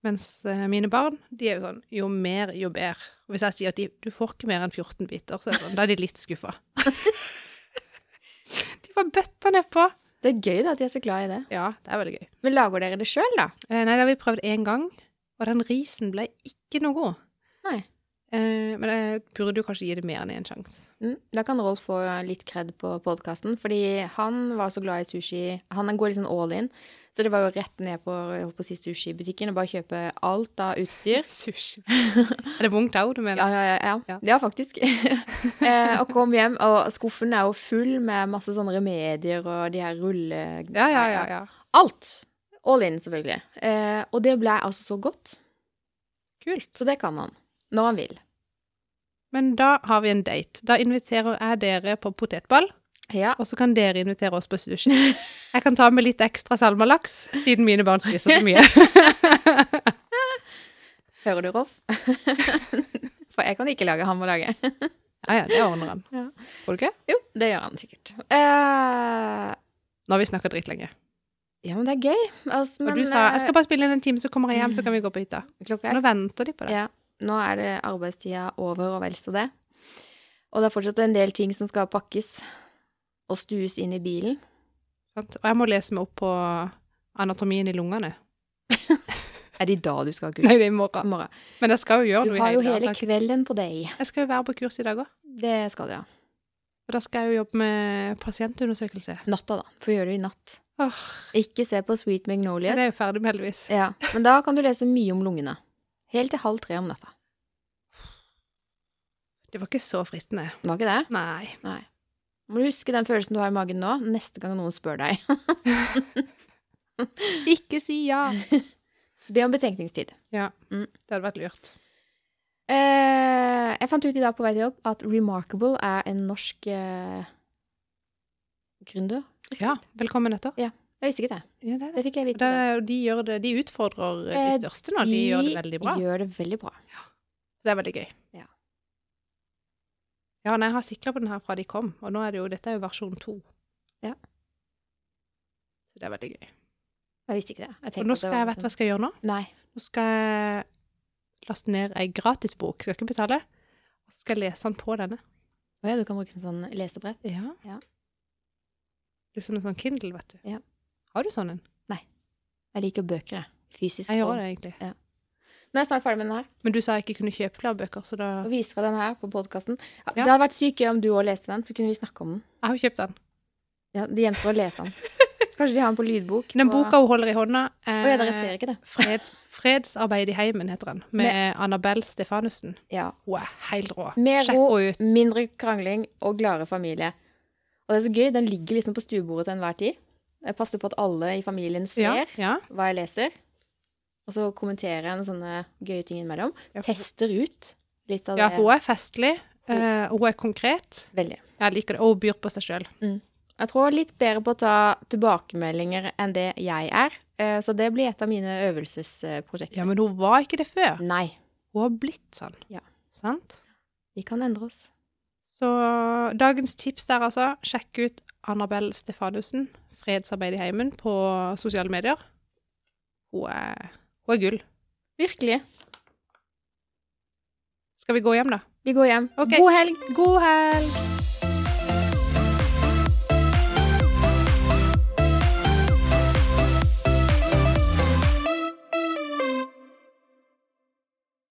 [SPEAKER 1] Mens eh, mine barn, de er jo sånn jo mer, jo bedre. Og hvis jeg sier at de, du får ikke mer enn 14 biter, så er, det sånn, da er de litt skuffa. de var bøtta nedpå.
[SPEAKER 2] Det er gøy da at de er så glad i det.
[SPEAKER 1] Ja, det er veldig gøy.
[SPEAKER 2] Men lager dere det sjøl, da?
[SPEAKER 1] Eh, Nei, det har vi prøvd én gang, og den risen ble ikke noe god.
[SPEAKER 2] Nei.
[SPEAKER 1] Eh, men jeg burde jo kanskje gi det mer enn én sjanse.
[SPEAKER 2] Mm. Da kan Rolf få litt kred på podkasten, fordi han var så glad i sushi. Han går liksom all in, så det var jo rett ned på, jeg holdt på å si sushibutikken og bare kjøpe alt av utstyr.
[SPEAKER 1] Sushi. er det vondt òg, du
[SPEAKER 2] Ja,
[SPEAKER 1] mener?
[SPEAKER 2] ja, ja. ja.
[SPEAKER 1] Ja.
[SPEAKER 2] ja faktisk. eh, og kom hjem, og skuffen er jo full med masse sånne remedier og de her rulle...
[SPEAKER 1] Ja, ja, ja. ja.
[SPEAKER 2] Alt! All in, selvfølgelig. Eh, og det ble altså så godt,
[SPEAKER 1] Kult.
[SPEAKER 2] så det kan han. Når han vil.
[SPEAKER 1] Men da har vi en date. Da inviterer jeg dere på potetball,
[SPEAKER 2] Ja.
[SPEAKER 1] og så kan dere invitere oss på sushi. Jeg kan ta med litt ekstra salmalaks, siden mine barn spiser så mye.
[SPEAKER 2] Hører du, Rolf? For jeg kan ikke lage hamburger.
[SPEAKER 1] Ja, ja, det ordner han.
[SPEAKER 2] Ja.
[SPEAKER 1] Får du ikke?
[SPEAKER 2] Jo, det gjør han sikkert. Eh,
[SPEAKER 1] Nå har vi snakka dritlenge.
[SPEAKER 2] ja, men det er gøy. Altså,
[SPEAKER 1] Og
[SPEAKER 2] men,
[SPEAKER 1] du sa jeg
[SPEAKER 2] eh,
[SPEAKER 1] skal bare spille inn en time, så kommer jeg hjem, så kan vi gå på hytta.
[SPEAKER 2] klokka
[SPEAKER 1] Nå
[SPEAKER 2] er
[SPEAKER 1] venter de på det.
[SPEAKER 2] ja, Nå er det arbeidstida over, og vel så det. Og det er fortsatt en del ting som skal pakkes og stues inn i bilen.
[SPEAKER 1] Sant? Og jeg må lese meg opp på anatomien i lungene.
[SPEAKER 2] Er det i dag du skal ha kurs?
[SPEAKER 1] Nei, det er i morgen.
[SPEAKER 2] Morgen.
[SPEAKER 1] Men jeg skal jo gjøre
[SPEAKER 2] Du
[SPEAKER 1] noe i
[SPEAKER 2] har jo
[SPEAKER 1] dag,
[SPEAKER 2] hele
[SPEAKER 1] så jeg-
[SPEAKER 2] kvelden på deg.
[SPEAKER 1] Jeg skal jo være på kurs i dag òg.
[SPEAKER 2] Det skal du, ja.
[SPEAKER 1] Og da skal jeg jo jobbe med pasientundersøkelse.
[SPEAKER 2] Natta, da. Få gjøre det i natt.
[SPEAKER 1] Åh,
[SPEAKER 2] Ikke se på Sweet
[SPEAKER 1] det
[SPEAKER 2] Magnolias.
[SPEAKER 1] er jo ferdig med, heldigvis.
[SPEAKER 2] Ja, men da kan du lese mye om lungene. Helt til halv tre om natta.
[SPEAKER 1] Det var ikke så fristende.
[SPEAKER 2] Var ikke det?
[SPEAKER 1] Nei.
[SPEAKER 2] Nei. Må du huske den følelsen du har i magen nå, neste gang noen spør deg.
[SPEAKER 1] Ikke si ja.
[SPEAKER 2] Be om betenkningstid.
[SPEAKER 1] Ja,
[SPEAKER 2] Mm.
[SPEAKER 1] det hadde vært lurt.
[SPEAKER 2] Eh, jeg fant ut i dag på vei til jobb at Remarkable er en norsk eh, gründer.
[SPEAKER 1] Ja, velkommen etter.
[SPEAKER 2] Jeg visste ikke det.
[SPEAKER 1] Ja, det er det.
[SPEAKER 2] Det fikk jeg
[SPEAKER 1] Det
[SPEAKER 2] vite.
[SPEAKER 1] er- de, gjør det, de utfordrer
[SPEAKER 2] Eh,
[SPEAKER 1] de største nå. De gjør det veldig bra.
[SPEAKER 2] gjør det veldig bra.
[SPEAKER 1] Det er veldig gøy.
[SPEAKER 2] Ja.
[SPEAKER 1] Ja, nei, jeg har sikla på den her fra de kom, og nå er det jo, dette er jo versjon to.
[SPEAKER 2] Ja.
[SPEAKER 1] Så det er veldig gøy.
[SPEAKER 2] Jeg visste ikke det. sånn- Jeg
[SPEAKER 1] Og nå skal jeg, vet du hva jeg skal gjøre nå?
[SPEAKER 2] Nei.
[SPEAKER 1] Nå skal jeg laste ned ei gratisbok, skal jeg ikke betale. Og så skal jeg lese den på denne.
[SPEAKER 2] Å ja, du kan bruke en sånn lesebrett.
[SPEAKER 1] Ja.
[SPEAKER 2] Ja.
[SPEAKER 1] Liksom en sånn Kindle, vet du.
[SPEAKER 2] Ja.
[SPEAKER 1] Har du sånn en?
[SPEAKER 2] Jeg liker bøker, jeg. Fysisk.
[SPEAKER 1] Jeg gjør det egentlig.
[SPEAKER 2] Nå er jeg snart ferdig med den her.
[SPEAKER 1] Men du sa jeg ikke kunne kjøpe flere bøker, så da
[SPEAKER 2] Og viser deg den her på podkasten.
[SPEAKER 1] Ja.
[SPEAKER 2] Ja, Det hadde vært sykt gøy om du òg leste den, så kunne vi snakke om den.
[SPEAKER 1] Jeg har jo kjøpt den.
[SPEAKER 2] Ja, det gjenstår å lese den. Kanskje de har den på lydbok.
[SPEAKER 1] Den
[SPEAKER 2] på-
[SPEAKER 1] boka hun holder i hånda eh,
[SPEAKER 2] Å ja, dere ser ikke det.
[SPEAKER 1] freds, 'Fredsarbeid i heimen', heter den. Med Annabelle Stefanussen.
[SPEAKER 2] Ja.
[SPEAKER 1] Hun er helt rå.
[SPEAKER 2] Mer
[SPEAKER 1] Sjekk
[SPEAKER 2] ro,
[SPEAKER 1] henne ut.
[SPEAKER 2] Mindre krangling og gladere familie. Og det er så gøy, den ligger liksom på stuebordet til enhver tid. Jeg passer på at alle i familien ser
[SPEAKER 1] Ja, ja.
[SPEAKER 2] hva jeg leser. Og så kommenterer jeg noen sånne gøye ting innimellom.
[SPEAKER 1] Ja, for-
[SPEAKER 2] Tester ut litt av
[SPEAKER 1] ja,
[SPEAKER 2] det.
[SPEAKER 1] hun er festlig. eh, hun er konkret.
[SPEAKER 2] Veldig.
[SPEAKER 1] Jeg liker det. Og hun byr på seg sjøl.
[SPEAKER 2] Jeg tror litt bedre på å ta tilbakemeldinger enn det jeg er. Eh, Så det blir et av mine øvelsesprosjekter.
[SPEAKER 1] Ja, men hun var ikke det før.
[SPEAKER 2] Nei,
[SPEAKER 1] Hun har blitt sånn.
[SPEAKER 2] Ja.
[SPEAKER 1] Sant?
[SPEAKER 2] vi kan endre oss.
[SPEAKER 1] Så dagens tips der, altså. Sjekk ut Annabelle Stefanussen, 'Fredsarbeid i heimen', på sosiale medier. Hun er, hun er gull.
[SPEAKER 2] Virkelig.
[SPEAKER 1] Skal vi gå hjem, da?
[SPEAKER 2] Vi går hjem.
[SPEAKER 1] Ok.
[SPEAKER 2] God helg!
[SPEAKER 1] God helg!